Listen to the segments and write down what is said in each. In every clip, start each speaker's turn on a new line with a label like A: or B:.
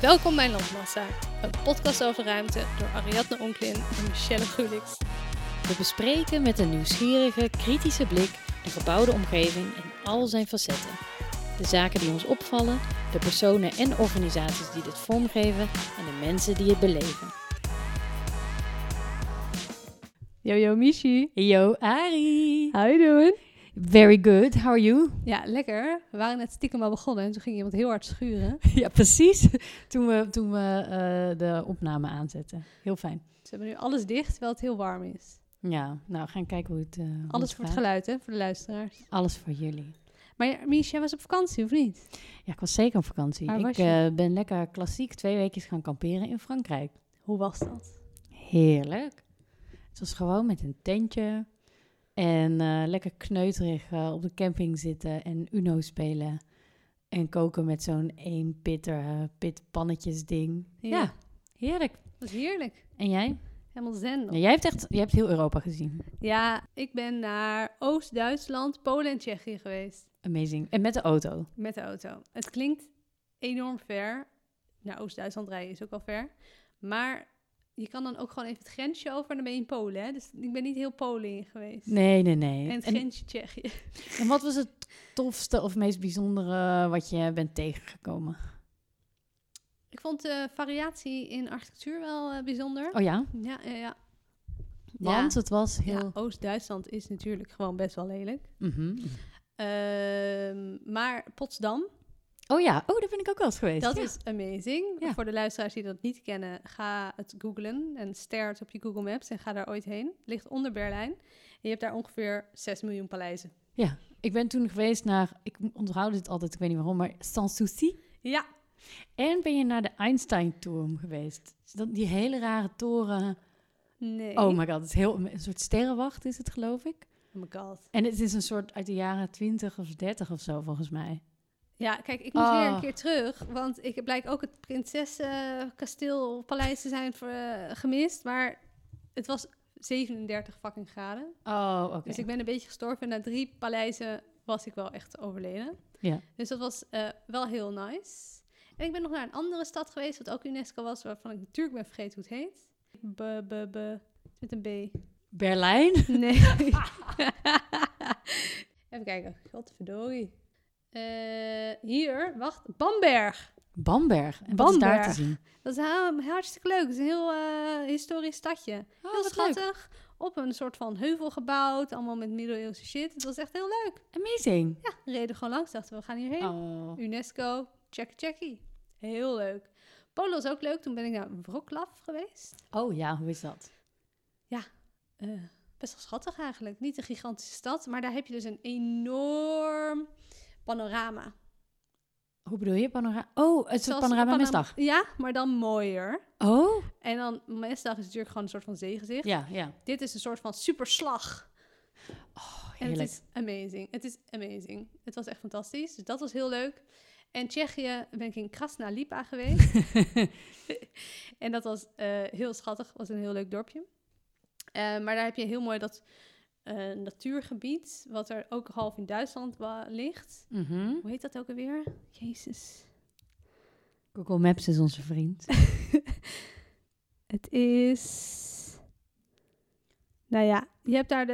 A: Welkom bij Landmassa, een podcast over ruimte door Ariadne Onklin en Michelle Gulix.
B: We bespreken met een nieuwsgierige, kritische blik de gebouwde omgeving in al zijn facetten. De zaken die ons opvallen, de personen en organisaties die dit vormgeven en de mensen die het beleven.
C: Yo, yo, Michi.
B: Yo, Ari!
C: How you doing?
B: Very good, how are you?
C: Ja, lekker. We waren net stiekem al begonnen en toen ging iemand heel hard schuren.
B: Ja, precies. Toen we, toen we eh, de opname aanzetten. Heel fijn.
C: Ze hebben nu alles dicht, terwijl het heel warm is.
B: Ja, nou, we gaan kijken hoe het. eh, hoe
C: Alles voor het
B: gaat.
C: geluid, hè, voor de luisteraars.
B: Alles voor jullie.
C: Maar ja, Michi, jij was op vakantie, of niet?
B: Ja, ik was zeker op vakantie.
C: Waar
B: ik
C: was je?
B: eh, ben lekker klassiek twee weekjes gaan kamperen in Frankrijk.
C: Hoe was dat?
B: Heerlijk. Het was gewoon met een tentje. En eh, lekker kneuterig eh, op de camping zitten en Uno spelen. En koken met zo'n één pitter, eh, pit pannetjes ding. Ja.
C: Dat
B: heerlijk.
C: was heerlijk.
B: En jij?
C: Helemaal zen.
B: Ja, jij hebt echt jij hebt heel Europa gezien.
C: Ja, ik ben naar Oost-Duitsland, Polen en Tsjechië geweest.
B: Amazing. En met de auto.
C: Met de auto. Het klinkt enorm ver. Naar Oost-Duitsland rijden is ook wel ver. Maar je kan dan ook gewoon even het grensje over en dan ben je in Polen. Hè? Dus ik ben niet heel Polen in geweest.
B: Nee, nee, nee.
C: En het
B: en,
C: grensje Tsjechië.
B: en wat was het tofste of meest bijzondere wat je bent tegengekomen?
C: Ik vond de variatie in architectuur wel eh, bijzonder.
B: Oh ja,
C: Ja, ja, ja.
B: want het was
C: Ja,
B: heel...
C: Oost-Duitsland is natuurlijk gewoon best wel lelijk.
B: Mhm.
C: Ehm, maar Potsdam,
B: Oh ja, oh, daar ben ik ook wel eens geweest.
C: dat
B: Ja.
C: is amazing.
B: Ja.
C: Voor de luisteraars die dat niet kennen, ga het googlen en ster het op je Google Maps en ga daar ooit heen. Het ligt onder Berlijn. En je hebt daar ongeveer 6 miljoen paleizen.
B: Ik ben toen geweest naar, ik onthoud dit altijd, ik weet niet waarom, maar Sanssouci.
C: Ja,
B: En ben je naar de Einstein-toren geweest. Dus dat, die hele rare toren.
C: nee.
B: Oh my god, het is heel, een soort sterrenwacht is het, geloof ik.
C: Oh my god.
B: En het is een soort uit de jaren 20 of 30 of zo, volgens mij.
C: Ja, kijk, ik moet weer
B: Oh.
C: een keer terug. Want ik blijk ook het prinsessenkasteel paleis te zijn voor, eh, gemist. Maar het was 37 fucking graden.
B: Oh, oké.
C: Dus ik ben een beetje gestorven. Na drie paleizen was ik wel echt overleden.
B: Ja.
C: Dus dat was eh, wel heel nice. En ik ben nog naar een andere stad geweest, wat ook UNESCO was, waarvan ik natuurlijk ben vergeten hoe het heet. B, b, b, met een B.
B: Berlijn.
C: Nee. Even kijken. Godverdorie. Eh, hier, wacht. Bamberg.
B: Bamberg. Oh, En wat is daar
C: Bamberg.
B: te zien?
C: Dat is ha- hartstikke leuk. Het is een heel eh, historisch stadje.
B: Oh,
C: heel
B: wat leuk.
C: schattig. Op een soort van heuvel gebouwd. Allemaal met middeleeuwse shit. Het was echt heel leuk.
B: Amazing.
C: Ja, we reden gewoon langs. Dachten we, we gaan hierheen.
B: Oh.
C: UNESCO, check checkie. Heel leuk. Polen was ook leuk. Toen ben ik naar Wroclaw geweest.
B: oh ja, hoe is dat?
C: Eh, best wel schattig eigenlijk. Niet een gigantische stad. Maar daar heb je dus een enorm panorama.
B: Hoe bedoel je panorama? Oh, het soort
C: Zoals
B: panorama misdag.
C: Ja, maar dan mooier.
B: Oh?
C: En dan mesdag is natuurlijk gewoon een soort van zeegezicht.
B: Ja, ja.
C: Dit is een soort van superslag. En het
B: Heerlijk.
C: is amazing. Het is amazing. Het was echt fantastisch. Dus dat was heel leuk. En Tsjechië ben ik in Krasna Lipa geweest. en dat was eh, heel schattig. was een heel leuk dorpje. Eh, maar daar heb je heel mooi dat eh, natuurgebied, wat er ook half in Duitsland wa- ligt.
B: Mhm.
C: Hoe heet dat ook alweer? Jezus.
B: Google Maps is onze vriend.
C: Het is. Nou ja, je hebt, daar de,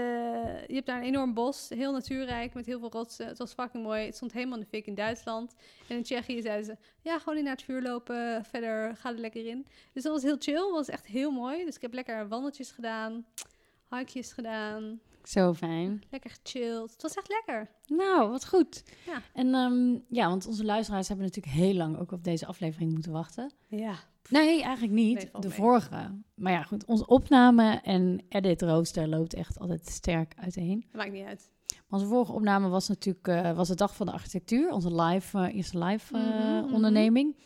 C: je hebt daar een enorm bos, heel natuurrijk, met heel veel rotsen. Het was fucking mooi. Het stond helemaal in de fik in Duitsland. En in Tsjechië zeiden ze, ja, gewoon in naar het vuur lopen, verder, ga er lekker in. Dus dat was heel chill, was echt heel mooi. Dus ik heb lekker wandeltjes gedaan, hikejes gedaan,
B: Zo fijn.
C: lekker gechilled. Het was echt lekker.
B: Nou, wat goed.
C: Ja.
B: En ehm, ja, want onze luisteraars hebben natuurlijk heel lang ook op deze aflevering moeten wachten.
C: Ja.
B: Nee, eigenlijk niet.
C: Nee, valt
B: de
C: mee.
B: vorige. Maar ja, goed. Onze opname en edit rooster loopt echt altijd sterk uiteen.
C: Maakt niet uit.
B: Maar onze vorige opname was natuurlijk eh, was de dag van de architectuur. Onze live, eh, eerste live eh,
C: Mhm, mhm.
B: onderneming.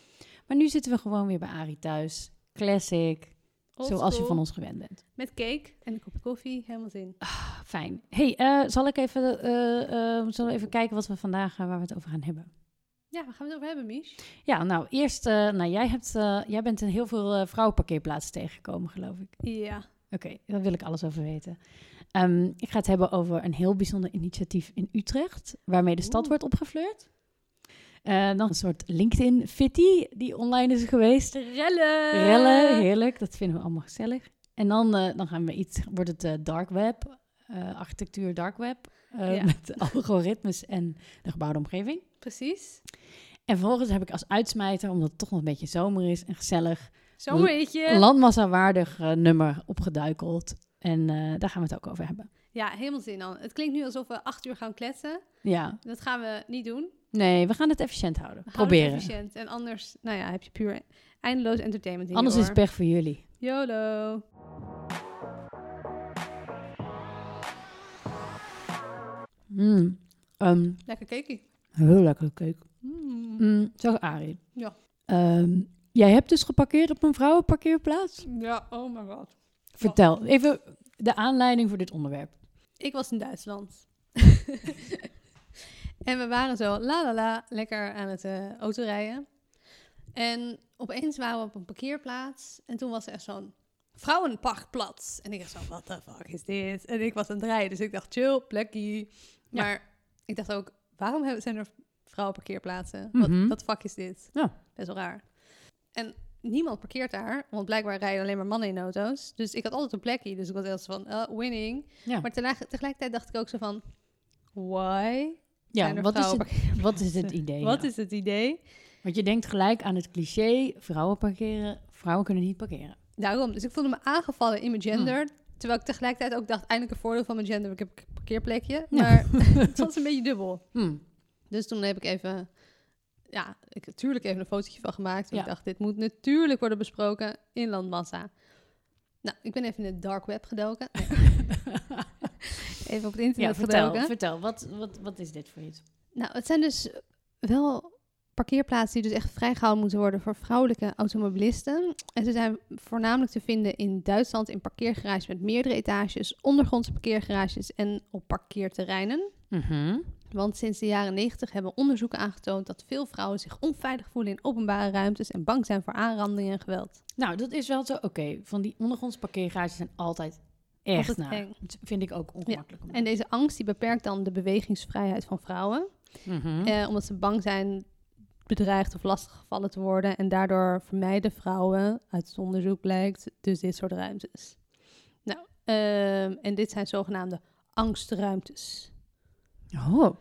B: Maar nu zitten we gewoon weer bij Arie thuis. Classic.
C: Old
B: zoals je
C: school,
B: van ons gewend bent.
C: Met cake en een kopje koffie, helemaal zin.
B: Ah, fijn. hey, eh, zal ik even, eh, eh, zullen we even kijken wat we vandaag, eh, waar we het over gaan hebben?
C: Ja, waar gaan we het over hebben, Mies?
B: Ja, nou eerst, eh, nou, jij, hebt, eh, jij bent in heel veel eh, vrouwenparkeerplaatsen tegengekomen, geloof ik.
C: Ja.
B: Oké, daar wil ik alles over weten. Ehm, ik ga het hebben over een heel bijzonder initiatief in Utrecht, waarmee de stad
C: Oeh.
B: wordt opgefleurd. Eh, dan een soort LinkedIn-fitty die online is geweest.
C: Rellen! Eh.
B: Rellen, heerlijk. Dat vinden we allemaal gezellig. En dan, eh, dan gaan we iets, wordt het eh, dark web, eh, architectuur dark web, eh,
C: Ja.
B: met algoritmes en de gebouwde omgeving.
C: Precies.
B: En vervolgens heb ik als uitsmijter, omdat het toch nog een beetje zomer is en gezellig,
C: Zomerritje.
B: een landmassa-waardig eh, nummer opgeduikeld. En eh, daar gaan we het ook over hebben.
C: Ja, helemaal zin aan. Het klinkt nu alsof we acht uur gaan kletsen.
B: Ja,
C: Dat gaan we niet doen. We
B: nee, we gaan het efficiënt houden.
C: houden het
B: Proberen.
C: efficiënt. En anders, nou ja, heb je puur eindeloos entertainment in je
B: Anders is
C: oor.
B: het pech voor jullie.
C: YOLO.
B: Mm. Ehm,
C: Lekker cakey.
B: heel lekker keuk.
C: Mm.
B: Mm, zeg Arie.
C: Ja.
B: Ehm, jij hebt dus geparkeerd op een vrouwenparkeerplaats?
C: Ja, oh my god.
B: Vertel, even de aanleiding voor dit onderwerp.
C: Ik was in Duitsland. en we waren zo la la la lekker aan het eh autorijden. En opeens waren we op een parkeerplaats. En toen was er zo'n vrouwenparkplaats. En ik dacht zo, what the fuck is dit? En ik was aan het rijden, dus ik dacht, chill, plekkie.
B: Ja.
C: Maar ik dacht ook, waarom hebben- zijn er vrouwenparkeerplaatsen?
B: Mhm.
C: Wat, wat fuck is dit?
B: Ja.
C: Best wel raar. En niemand parkeert daar, want blijkbaar rijden alleen maar mannen in auto's. Dus ik had altijd een plekje, dus ik was echt van, eh, winning.
B: Ja,
C: Maar tegelijk- tegelijkertijd dacht ik ook zo van... Why? zijn
B: ja
C: er
B: wat, is het,
C: vrouwen
B: wat is het idee?
C: Wat
B: ja?
C: is het idee?
B: Want je denkt gelijk aan het cliché, vrouwen parkeren, vrouwen kunnen niet parkeren.
C: Daarom. Dus ik voelde me aangevallen in mijn gender. Terwijl ik tegelijkertijd ook dacht... Eindelijk een voordeel van mijn gender. want Ik heb een parkeerplekje. Maar het was een beetje dubbel.
B: Hm.
C: Dus toen heb ik even... Ja, ik heb natuurlijk even een fotootje van gemaakt. want
B: Ja.
C: Ik dacht, dit moet natuurlijk worden besproken in Landmassa. Nou, ik ben even in het dark web gedoken. even op het internet
B: Ja,
C: gedoken.
B: vertel, vertel wat, wat, wat is dit voor iets?
C: Nou, het zijn dus wel parkeerplaatsen die dus echt vrijgehouden moeten worden voor vrouwelijke automobilisten. En ze zijn voornamelijk te vinden in Duitsland in parkeergarages met meerdere etages, ondergrondse parkeergarages en op parkeerterreinen. Mhm. Want sinds de jaren 90 hebben onderzoeken aangetoond dat veel vrouwen zich onveilig voelen in openbare ruimtes en bang zijn voor aanrandingen en geweld.
B: Nou, dat is wel zo. Oké, van die ondergronds parkeergarages zijn altijd echt
C: Altijd
B: naar.
C: eng.
B: Dat vind ik ook ongemakkelijk. om-
C: En deze angst die beperkt dan de bewegingsvrijheid van vrouwen.
B: Mhm.
C: Eh, omdat ze bang zijn bedreigd of lastiggevallen te worden. En daardoor vermijden vrouwen, uit het onderzoek blijkt, dus dit soort ruimtes. Nou, ehm, en dit zijn zogenaamde angstruimtes. eh, nou,
B: Oh,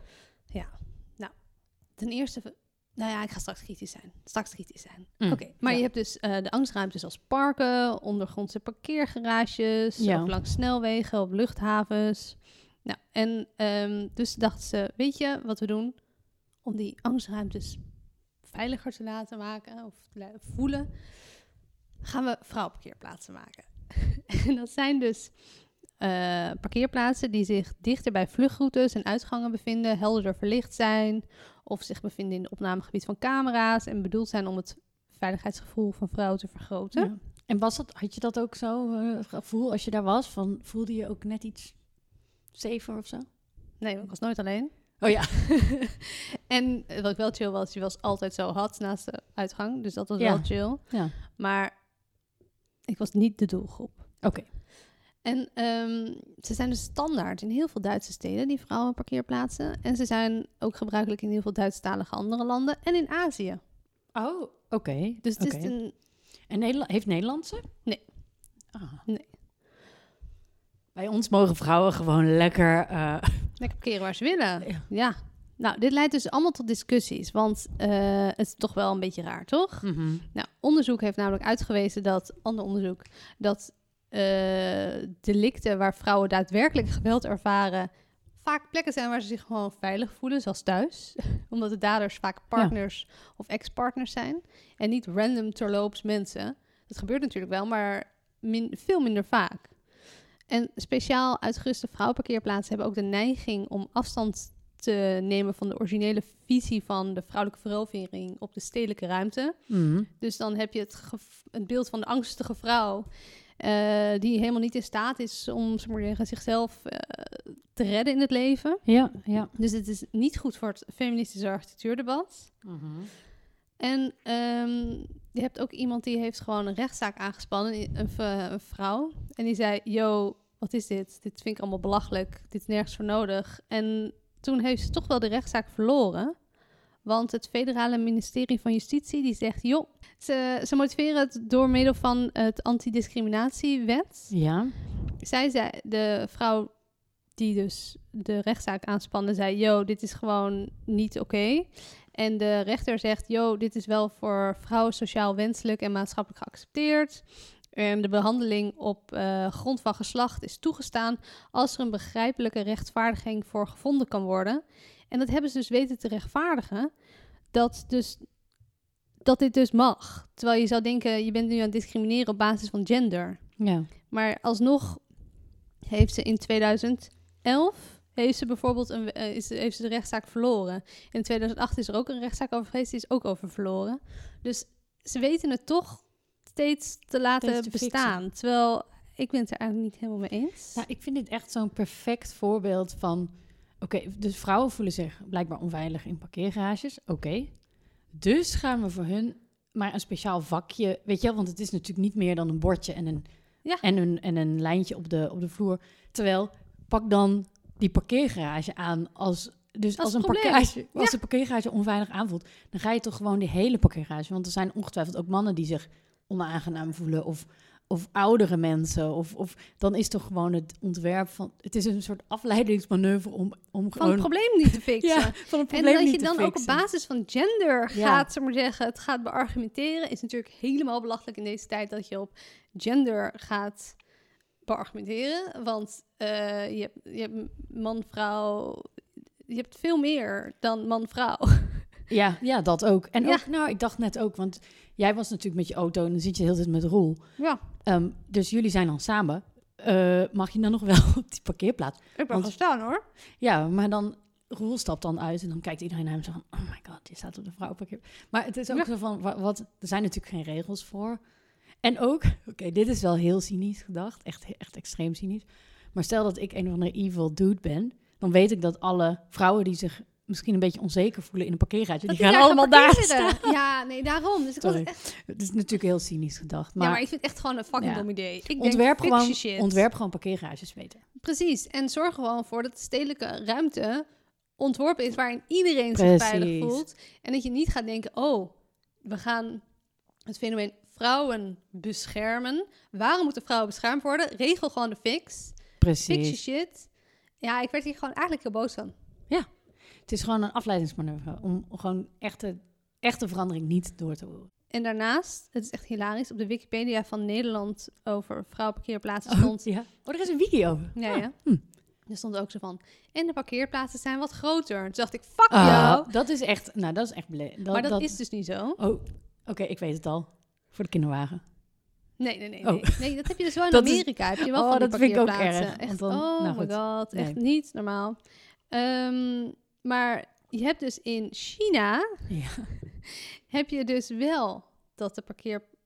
C: Ten eerste, v- nou ja, ik ga straks kritisch zijn. Straks kritisch zijn.
B: Mm,
C: Oké, maar
B: ja.
C: je hebt dus eh, de angstruimtes als parken, ondergrondse parkeergarages,
B: Ja.
C: of langs snelwegen, op luchthavens. Nou, en ehm, dus dachten ze, weet je wat we doen? Om die angstruimtes veiliger te laten maken of te laten voelen, gaan we vrouwenparkeerplaatsen maken. en dat zijn dus eh, parkeerplaatsen die zich dichter bij vluchtroutes en uitgangen bevinden, helderder verlicht zijn of zich bevinden in het opnamegebied van camera's en bedoeld zijn om het veiligheidsgevoel van vrouwen te vergroten.
B: ja. En was dat, had je dat ook zo, eh, het gevoel als je daar was? Van, voelde je ook net iets safer of zo?
C: Nee, want ik was nooit alleen.
B: Oh ja.
C: en eh, wat ik wel chill was, je was altijd zo hard naast de uitgang, dus dat was
B: Ja.
C: wel chill.
B: ja.
C: Maar ik was niet de doelgroep.
B: Oké.
C: En ehm, ze zijn dus standaard in heel veel Duitse steden, die vrouwen parkeerplaatsen. En ze zijn ook gebruikelijk in heel veel Duitsstalige andere landen en in Azië.
B: Oh, oké.
C: Dus het is
B: Oké.
C: een...
B: En Nederla- heeft Nederland ze?
C: Nee.
B: Ah.
C: Nee.
B: Bij ons mogen vrouwen gewoon lekker... eh,
C: Lekker parkeren waar ze willen.
B: Ja.
C: Ja. Nou, dit leidt dus allemaal tot discussies, want eh, het is toch wel een beetje raar, toch?
B: Mhm.
C: Nou, onderzoek heeft namelijk uitgewezen dat, ander onderzoek, dat eh, delicten waar vrouwen daadwerkelijk geweld ervaren, vaak plekken zijn waar ze zich gewoon veilig voelen, zoals thuis. Omdat de daders vaak partners of ex-partners zijn en niet random terloops mensen. Dat gebeurt natuurlijk wel, maar min- veel minder vaak. En speciaal uitgeruste vrouwenparkeerplaatsen hebben ook de neiging om afstand te nemen van de originele visie van de vrouwelijke verovering op de stedelijke ruimte.
B: Mhm.
C: Dus dan heb je het, gev- het beeld van de angstige vrouw. eh, die helemaal niet in staat is om zeg maar zeggen, zichzelf eh, te redden in het leven.
B: Ja, ja.
C: Dus het is niet goed voor het feministische architectuurdebat.
B: Mhm.
C: En ehm, je hebt ook iemand die heeft gewoon een rechtszaak aangespannen, een, v- een vrouw. En die zei, yo, wat is dit? Dit vind ik allemaal belachelijk. Dit is nergens voor nodig. En toen heeft ze toch wel de rechtszaak verloren. Want het federale ministerie van Justitie die zegt, joh, ze, ze motiveren het door middel van het antidiscriminatiewet.
B: Ja.
C: Zij zei, de vrouw die dus de rechtszaak aanspande, zei, yo, dit is gewoon niet oké. En de rechter zegt, yo, dit is wel voor vrouwen sociaal wenselijk en maatschappelijk geaccepteerd. En de behandeling op eh, grond van geslacht is toegestaan als er een begrijpelijke rechtvaardiging voor gevonden kan worden. En dat hebben ze dus weten te rechtvaardigen, dat, dus, dat dit dus mag. Terwijl je zou denken, je bent nu aan het discrimineren op basis van gender.
B: Ja.
C: Maar alsnog heeft ze in 2011 heeft ze bijvoorbeeld een, eh, is, heeft ze de rechtszaak verloren. In 2008 is er ook een rechtszaak over geweest, die is ook over verloren. Dus ze weten het toch steeds te laten
B: Steeds te fixen.
C: bestaan. Terwijl ik ben het er eigenlijk niet helemaal mee eens.
B: Nou, ik vind dit echt zo'n perfect voorbeeld van... Oké, dus vrouwen voelen zich blijkbaar onveilig in parkeergarages. Oké. Dus gaan we voor hun maar een speciaal vakje... Weet je wel, want het is natuurlijk niet meer dan een bordje en een,
C: Ja.
B: en een, en een lijntje op de, op de vloer. Terwijl, pak dan die parkeergarage aan als... Dus
C: Dat
B: als
C: is
B: een,
C: het probleem.
B: parkeergarage, als een parkeergarage onveilig aanvoelt, dan ga je toch gewoon die hele parkeergarage. Want er zijn ongetwijfeld ook mannen die zich onaangenaam voelen of, of oudere mensen. Of, of dan is toch gewoon het ontwerp van. Het is een soort afleidingsmanoeuvre om, om
C: van
B: gewoon.
C: het probleem niet te fixen.
B: ja, van
C: En
B: een probleem
C: dat
B: niet
C: je
B: te
C: dan ook op
B: fixen.
C: basis van gender
B: Ja.
C: gaat, zeg maar zeggen, het gaat beargumenteren, is natuurlijk helemaal belachelijk in deze tijd dat je op gender gaat beargumenteren. Want eh, je, hebt, je hebt man-vrouw, je hebt veel meer dan man-vrouw.
B: Ja, ja, dat ook. En
C: Ja.
B: ook, nou, ik dacht net ook, want jij was natuurlijk met je auto en dan zit je de hele tijd met Roel.
C: Ja,
B: Ehm, dus jullie zijn dan samen. Eh, mag je dan nog wel op die parkeerplaats?
C: ik
B: Want-
C: ben staan hoor.
B: Ja, maar dan Roel stapt dan uit en dan kijkt iedereen naar hem zo van, oh my god, je staat op de vrouwenparkeer. Maar het is ook
C: Ja.
B: zo van, wa- wat, er zijn natuurlijk geen regels voor. En ook, oké, dit is wel heel cynisch gedacht, echt, echt extreem cynisch. Maar stel dat ik een of andere evil dude ben, dan weet ik dat alle vrouwen die zich misschien een beetje onzeker voelen in een parkeerraadje, die, gaan allemaal daar staan.
C: Ja, nee, daarom. Dus ik
B: Sorry.
C: was echt,
B: Het is natuurlijk heel cynisch gedacht, maar,
C: ja, maar ik vind het echt gewoon een fucking
B: Ja.
C: dom idee. Ik denk,
B: ontwerp,
C: fix je
B: gewoon,
C: shit.
B: ontwerp gewoon parkeergarages beter.
C: Precies. En zorg er gewoon voor dat de stedelijke ruimte ontworpen is waarin iedereen zich veilig
B: Precies.
C: voelt. En dat je niet gaat denken, oh, we gaan het fenomeen vrouwen beschermen. Waarom moeten vrouwen beschermd worden? Regel gewoon de fix. Fix je
B: Precies.
C: shit. Ja, ik werd hier gewoon eigenlijk heel boos van.
B: Het is gewoon een afleidingsmanoeuvre om gewoon echte, echte verandering niet door te horen.
C: En daarnaast, het is echt hilarisch, op de Wikipedia van Nederland over vrouwenparkeerplaatsen stond...
B: Oh, ja. oh, er is een wiki over.
C: Ja, ja.
B: hm.
C: Er stond ook zo van. En de parkeerplaatsen zijn wat groter. Toen dacht ik, fuck
B: Ah,
C: jou.
B: dat is echt, nou, dat is echt ble-
C: Maar dat is dus niet zo.
B: Oh, oké, ik weet het al. Voor de kinderwagen.
C: Nee, nee, nee.
B: Oh.
C: Nee. nee, dat heb je dus wel in
B: Dat is-
C: Amerika. Heb je wel
B: Oh,
C: van die
B: dat vind ik ook
C: parkeerplaatsen.
B: erg,
C: Echt,
B: want dan-
C: oh
B: nou
C: my
B: goed.
C: god, echt
B: Nee.
C: niet normaal. Ehm, maar je hebt dus in China,
B: Ja.
C: heb je dus wel dat de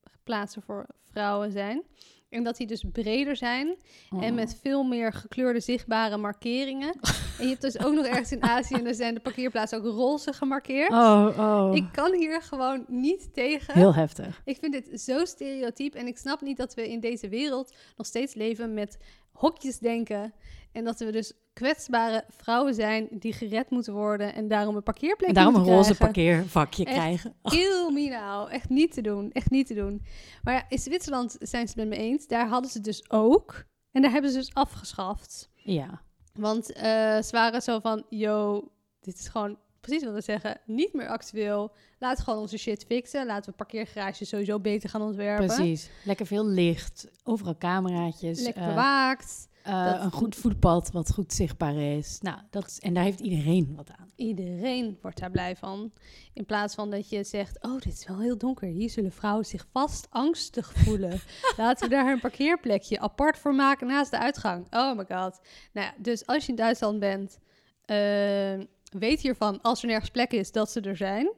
C: parkeerplaatsen voor vrouwen zijn. En dat die dus breder zijn
B: Oh.
C: en met veel meer gekleurde zichtbare markeringen. en je hebt dus ook nog ergens in Azië, en daar zijn de parkeerplaatsen ook roze gemarkeerd.
B: Oh, oh.
C: Ik kan hier gewoon niet tegen.
B: Heel heftig.
C: Ik vind dit zo stereotyp en ik snap niet dat we in deze wereld nog steeds leven met hokjes denken. En dat we dus kwetsbare vrouwen zijn die gered moeten worden en daarom een parkeerplek
B: En daarom een
C: moeten
B: roze
C: krijgen.
B: parkeervakje
C: Echt.
B: krijgen.
C: Kill me nou. Echt niet te doen. Echt niet te doen. Maar ja, in Zwitserland zijn ze het met me eens. Daar hadden ze het dus ook. En daar hebben ze dus afgeschaft.
B: Ja.
C: Want eh ze waren zo van, yo, dit is gewoon precies wat we zeggen. Niet meer actueel. Laten we gewoon onze shit fixen. Laten we parkeergarages sowieso beter gaan ontwerpen.
B: Precies. Lekker veel licht. Overal cameraatjes.
C: Lekker
B: eh,
C: bewaakt.
B: eh,
C: Dat-
B: Een goed voetpad wat goed zichtbaar is. Nou, dat is, en daar heeft iedereen wat aan.
C: Iedereen wordt daar blij van. In plaats van dat je zegt: Oh, dit is wel heel donker. Hier zullen vrouwen zich vast angstig voelen. Laten we daar een parkeerplekje apart voor maken naast de uitgang. Oh my god. Nou ja, dus als je in Duitsland bent, eh, weet hiervan als er nergens plek is dat ze er zijn.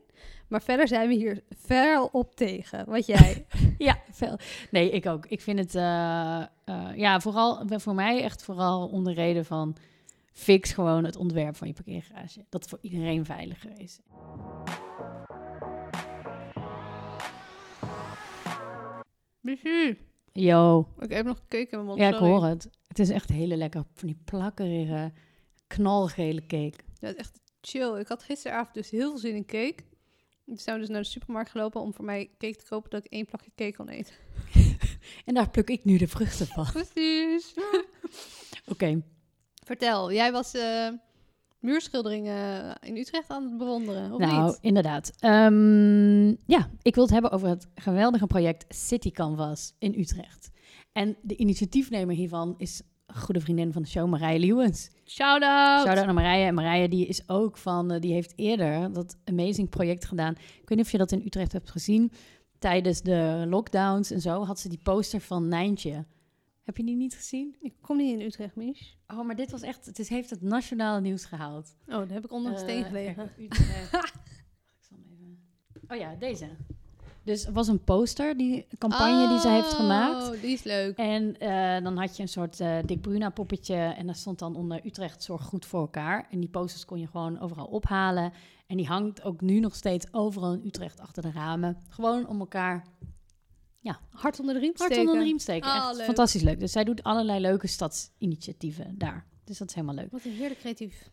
C: Maar verder zijn we hier ver op tegen. Wat jij.
B: Ja, veel. Nee, ik ook. Ik vind het, eh, eh, ja, vooral voor mij echt vooral om de reden van fix gewoon het ontwerp van je parkeergarage. Dat het voor iedereen veiliger is. Yo,
C: ik heb nog keuken in mijn mond.
B: ja, ik hoor het. Het is echt hele lekker van die plakkerige, knalgele cake.
C: Dat is echt chill. Ik had gisteravond dus heel veel zin in cake. Toen zijn we dus naar de supermarkt gelopen om voor mij cake te kopen dat ik één plakje cake kon eten.
B: En daar pluk ik nu de vruchten van.
C: Precies.
B: Oké,
C: Vertel, jij was eh, muurschilderingen in Utrecht aan het bewonderen, of
B: nou
C: niet?
B: inderdaad. Ehm, ja, ik wil het hebben over het geweldige project City Canvas in Utrecht. En de initiatiefnemer hiervan is een goede vriendin van de show, Marije Leeuwens.
C: Shout-out!
B: Shout-out naar Marije. En Marije die is ook van, eh, die heeft eerder dat amazing project gedaan. Ik weet niet of je dat in Utrecht hebt gezien. Tijdens de lockdowns en zo had ze die poster van Nijntje. Heb je die niet gezien?
C: Ik kom niet in Utrecht, Mies.
B: Oh, maar dit was echt, het is, heeft het nationale nieuws gehaald.
C: Oh, daar heb ik onder een
B: Eh,
C: steen gelegen.
B: kijk, Utrecht. Ik zal hem even... Oh ja, deze. Dus het was een poster, die campagne die ze heeft gemaakt.
C: Oh, die is leuk.
B: En eh, dan had je een soort eh Dick Bruna poppetje en daar stond dan onder Utrecht zorg goed voor elkaar. En die posters kon je gewoon overal ophalen. En die hangt ook nu nog steeds overal in Utrecht achter de ramen. Gewoon om elkaar
C: Hart onder de riem
B: hard
C: steken.
B: onder de riem te steken.
C: Ah,
B: Echt
C: leuk.
B: fantastisch leuk. Dus zij doet allerlei leuke stadsinitiatieven daar. Dus dat is helemaal leuk.
C: Wat een heerlijk creatief.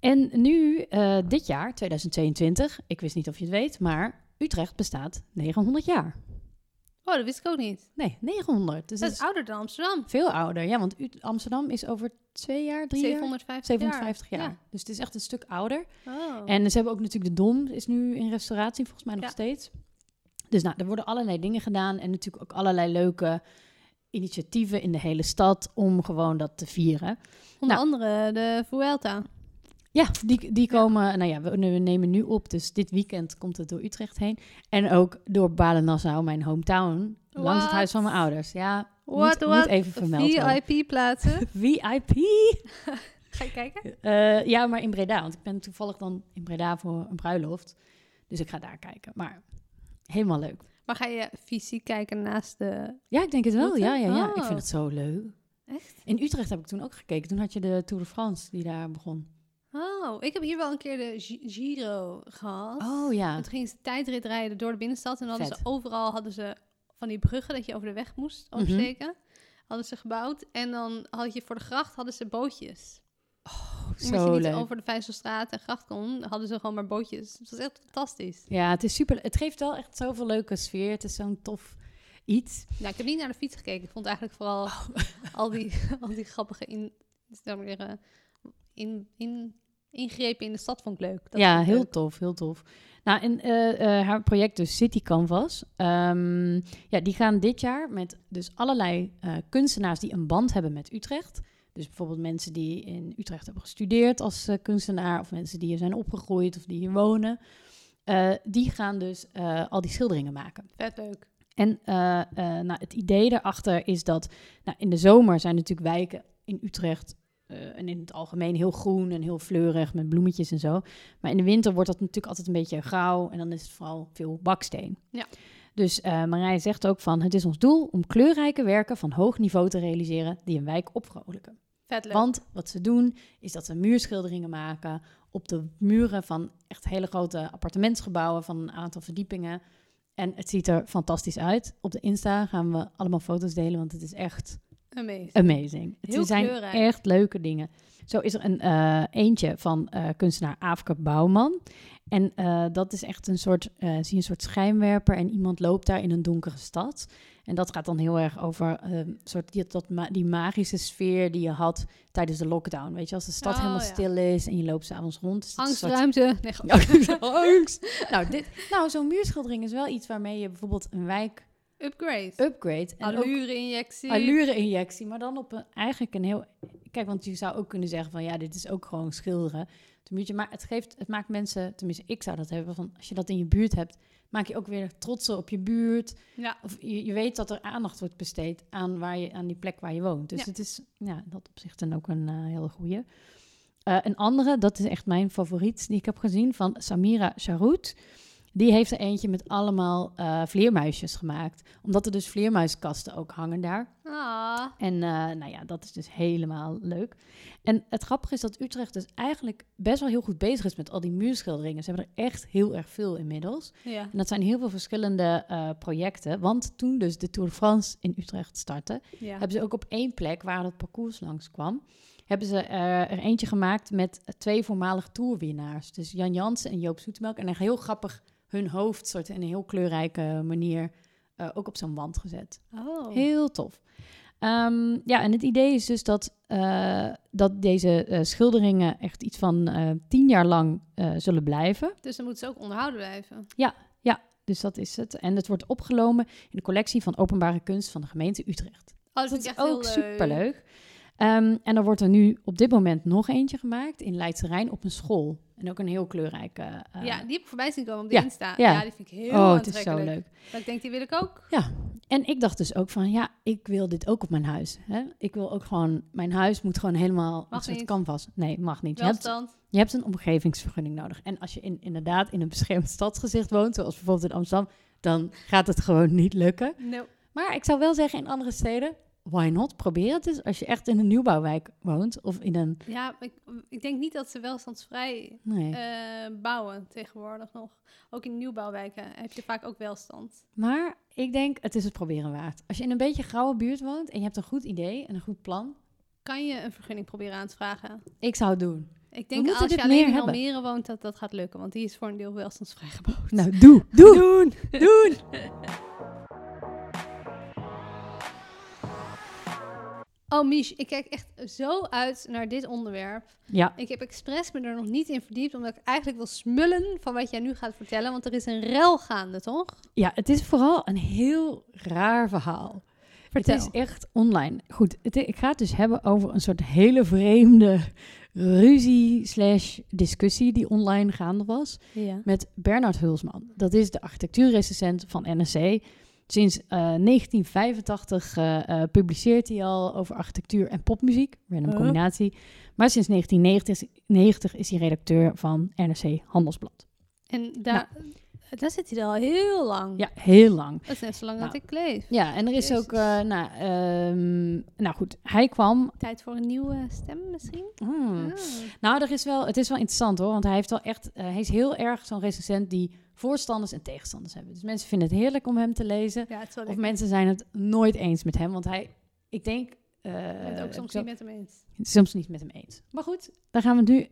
B: En nu, eh, dit jaar, 2022, ik wist niet of je het weet, maar Utrecht bestaat 900 jaar.
C: Oh, dat wist ik ook niet.
B: Nee, 900. Dus
C: dat
B: dat
C: is
B: is
C: ouder dan Amsterdam.
B: veel ouder. Ja, want Ut- Amsterdam is over twee jaar, drie jaar.
C: 750 jaar.
B: 750 jaar. Dus het is echt een stuk ouder.
C: Ja. Oh.
B: En ze hebben ook natuurlijk de Dom, is nu in restauratie volgens mij nog
C: Ja.
B: steeds. Dus nou, er worden allerlei dingen gedaan en natuurlijk ook allerlei leuke initiatieven in de hele stad om gewoon dat te vieren.
C: Onder
B: nou.
C: andere de Vuelta.
B: Ja, die, die komen, nou ja, we, we nemen nu op, dus dit weekend komt het door Utrecht heen. En ook door Balen-Nassau, mijn hometown, langs het
C: What?
B: huis van mijn ouders. Ja,
C: What,
B: moet,
C: what?
B: moet even vermeld worden.
C: VIP-plaatsen.
B: VIP?
C: Ga je kijken?
B: Eh, ja, maar in Breda. Want ik ben toevallig dan in Breda voor een bruiloft. Dus ik ga daar kijken. Maar helemaal leuk.
C: Maar ga je fysiek kijken naast de...
B: Ja, ik denk het wel.
C: Goed, hè?
B: Ja, ja, ja.
C: Oh.
B: Ik vind het zo leuk.
C: Echt?
B: In Utrecht heb ik toen ook gekeken. Toen had je de Tour de France die daar begon.
C: Oh, ik heb hier wel een keer de Gi- Giro gehad.
B: Oh ja.
C: En toen gingen ze tijdrit rijden door de binnenstad. En dan hadden
B: Vet.
C: ze overal hadden ze van die bruggen dat je over de weg moest
B: Mhm.
C: oversteken. Hadden ze gebouwd. En dan had je voor de gracht hadden ze bootjes. Omdat je
B: Zo
C: niet
B: leuk.
C: over de Vijzelstraat en gracht kon, hadden ze gewoon maar bootjes. Dus dat is echt fantastisch.
B: Ja, het is super. Het geeft wel echt zoveel leuke sfeer. Het is zo'n tof iets.
C: Nou, ik heb niet naar de fiets gekeken. Ik vond eigenlijk vooral
B: Oh.
C: al, die, al die grappige in, zou ik maar zeggen, in, in, ingrepen in de stad vond ik leuk. Dat
B: ja,
C: vond ik
B: heel
C: leuk.
B: tof, heel tof. Nou, en eh, eh, haar project dus City Canvas. ehm, ja, die gaan dit jaar met dus allerlei eh, kunstenaars die een band hebben met Utrecht. Dus bijvoorbeeld mensen die in Utrecht hebben gestudeerd als eh, kunstenaar... of mensen die hier zijn opgegroeid of die hier wonen. eh, die gaan dus eh, al die schilderingen maken.
C: Vet leuk.
B: En eh, eh, nou, het idee daarachter is dat nou, in de zomer zijn natuurlijk wijken in Utrecht eh, en in het algemeen heel groen en heel fleurig met bloemetjes en zo. Maar in de winter wordt dat natuurlijk altijd een beetje grauw en dan is het vooral veel baksteen.
C: Ja.
B: Dus eh Marije zegt ook van het is ons doel om kleurrijke werken van hoog niveau te realiseren die een wijk opvrolijken.
C: Vet leuk.
B: Want wat ze doen, is dat ze muurschilderingen maken op de muren van echt hele grote appartementsgebouwen van een aantal verdiepingen. En het ziet er fantastisch uit. Op de Insta gaan we allemaal foto's delen, want het is echt
C: Amazing.
B: Eh, amazing. Het
C: Heel
B: zijn
C: kleurrijk.
B: echt leuke dingen. Zo is er een eh, eentje van eh, kunstenaar Aafke Bouwman. En eh, dat is echt een soort, eh, zie je een soort schijnwerper en iemand loopt daar in een donkere stad. En dat gaat dan heel erg over eh, soort die, dat ma- die magische sfeer die je had tijdens de lockdown. Weet je, als de stad
C: Oh,
B: helemaal
C: ja.
B: stil is en je loopt s'avonds rond. is dat een soort-
C: Angstruimte. Nee, grap.
B: Angst. Nou, dit, nou zo'n muurschildering is wel iets waarmee je bijvoorbeeld een wijk
C: Upgrade.
B: upgrade. Eh,
C: Oh,
B: En ook
C: Allure-injectie.
B: allure-injectie, maar dan op een, eigenlijk een heel... Kijk, want je zou ook kunnen zeggen van ja, dit is ook gewoon schilderen. Toen moet je, maar het, geeft, het maakt mensen, tenminste ik zou dat hebben, van als je dat in je buurt hebt, maak je ook weer trotser op je buurt.
C: Ja.
B: Of je, je weet dat er aandacht wordt besteed aan, waar je, aan die plek waar je woont. Dus
C: Ja.
B: het is ja, in dat opzicht dan ook een eh, hele goeie. Eh, een andere, dat is echt mijn favoriet die ik heb gezien, van Samira Charout. Die heeft er eentje met allemaal eh, vleermuisjes gemaakt. Omdat er dus vleermuiskasten ook hangen daar.
C: Ah,
B: En eh, nou ja, dat is dus helemaal leuk. En het grappige is dat Utrecht dus eigenlijk best wel heel goed bezig is met al die muurschilderingen. Ze hebben er echt heel erg veel inmiddels.
C: ja.
B: En dat zijn heel veel verschillende eh, projecten. Want toen dus de Tour de France in Utrecht startte,
C: ja.
B: hebben ze ook op één plek waar dat parcours langs kwam, hebben ze eh, er eentje gemaakt met twee voormalig toerwinnaars. Dus Jan Jansen en Joop Zoetemelk. En echt heel grappig hun hoofd soort in een heel kleurrijke manier eh, ook op zo'n wand gezet.
C: Oh.
B: Heel tof. Ehm, ja, en het idee is dus dat, eh, dat deze eh, schilderingen echt iets van eh, tien jaar lang eh, zullen blijven.
C: Dus dan moeten ze ook onderhouden blijven. Oh,
B: Dus dat is het. En het wordt opgenomen in de collectie van openbare kunst van de gemeente Utrecht.
C: Oh, dat,
B: Dat
C: vind ik
B: is
C: echt
B: ook
C: heel leuk.
B: superleuk. Ehm, en er wordt er nu op dit moment nog eentje gemaakt in Leidse Rijn op een school. En ook een heel kleurrijke... eh,
C: ja, die heb ik voorbij zien komen op de
B: ja,
C: Insta. Ja.
B: ja.
C: die vind ik heel
B: oh, het is
C: aantrekkelijk.
B: zo leuk.
C: Dat ik denk, die wil ik ook.
B: En ik dacht dus ook van, ja, ik wil dit ook op mijn huis. Hè? Ik wil ook gewoon, mijn huis moet gewoon helemaal
C: Mag
B: een soort
C: niet.
B: canvas. Nee, mag niet. Je hebt,
C: Welstand.
B: je hebt een omgevingsvergunning nodig. En als je in, inderdaad in een beschermd stadsgezicht woont, zoals bijvoorbeeld in Amsterdam, dan gaat het gewoon niet lukken.
C: No.
B: Maar ik zou wel zeggen, in andere steden, why not? Probeer het eens als je echt in een nieuwbouwwijk woont of in een...
C: Ja, maar ik, ik denk niet dat ze welstandsvrij
B: Nee.
C: eh, bouwen tegenwoordig nog. Ook in nieuwbouwwijken heb je vaak ook welstand.
B: Maar ik denk, het is het proberen waard. Als je in een beetje grauwe buurt woont en je hebt een goed idee en een goed plan,
C: Kan je een vergunning proberen aan te vragen?
B: ik zou het doen.
C: Ik denk
B: moeten
C: als je
B: dit
C: alleen
B: meer
C: in
B: hebben.
C: Almere woont, dat dat gaat lukken. Want die is voor een deel welstandsvrij gebouwd.
B: Nou, doe. Doe. Doen. Doen.
C: Oh, Mich, ik kijk echt zo uit naar dit onderwerp.
B: Ja.
C: Ik heb expres me er nog niet in verdiept, omdat ik eigenlijk wil smullen van wat jij nu gaat vertellen. Want er is een rel gaande, toch?
B: Ja, het is vooral een heel raar verhaal.
C: Vertel.
B: Het is echt online. Goed, het, ik ga het dus hebben over een soort hele vreemde ruzie slash discussie die online gaande was
C: Ja.
B: met Bernard Hulsman. Dat is de architectuurrecensent van NRC. Sinds eh, 1985 eh, eh, publiceert hij al over architectuur en popmuziek, random
C: Huh?
B: combinatie. Maar sinds 1990 is hij redacteur van NRC Handelsblad.
C: En daar, daar zit hij er al heel lang.
B: Nou. Ja, heel lang.
C: Dat is net zo lang
B: Nou.
C: dat ik leef.
B: Ja, en er is ook,
C: Jezus.
B: eh, nou, ehm, nou goed, hij kwam.
C: Tijd voor een nieuwe stem misschien?
B: Hmm.
C: Ah.
B: Nou, er is wel, het is wel interessant hoor, want hij heeft wel echt, eh, hij is heel erg zo'n recensent die voorstanders en tegenstanders hebben. Dus mensen vinden het heerlijk om hem te lezen,
C: Ja, het is wel
B: of
C: lekker.
B: mensen zijn het nooit eens met hem, want hij, ik denk, eh,
C: Ik ben het ook soms
B: zo-
C: niet met hem eens.
B: soms niet met hem eens. Maar goed, daar gaan we het nu.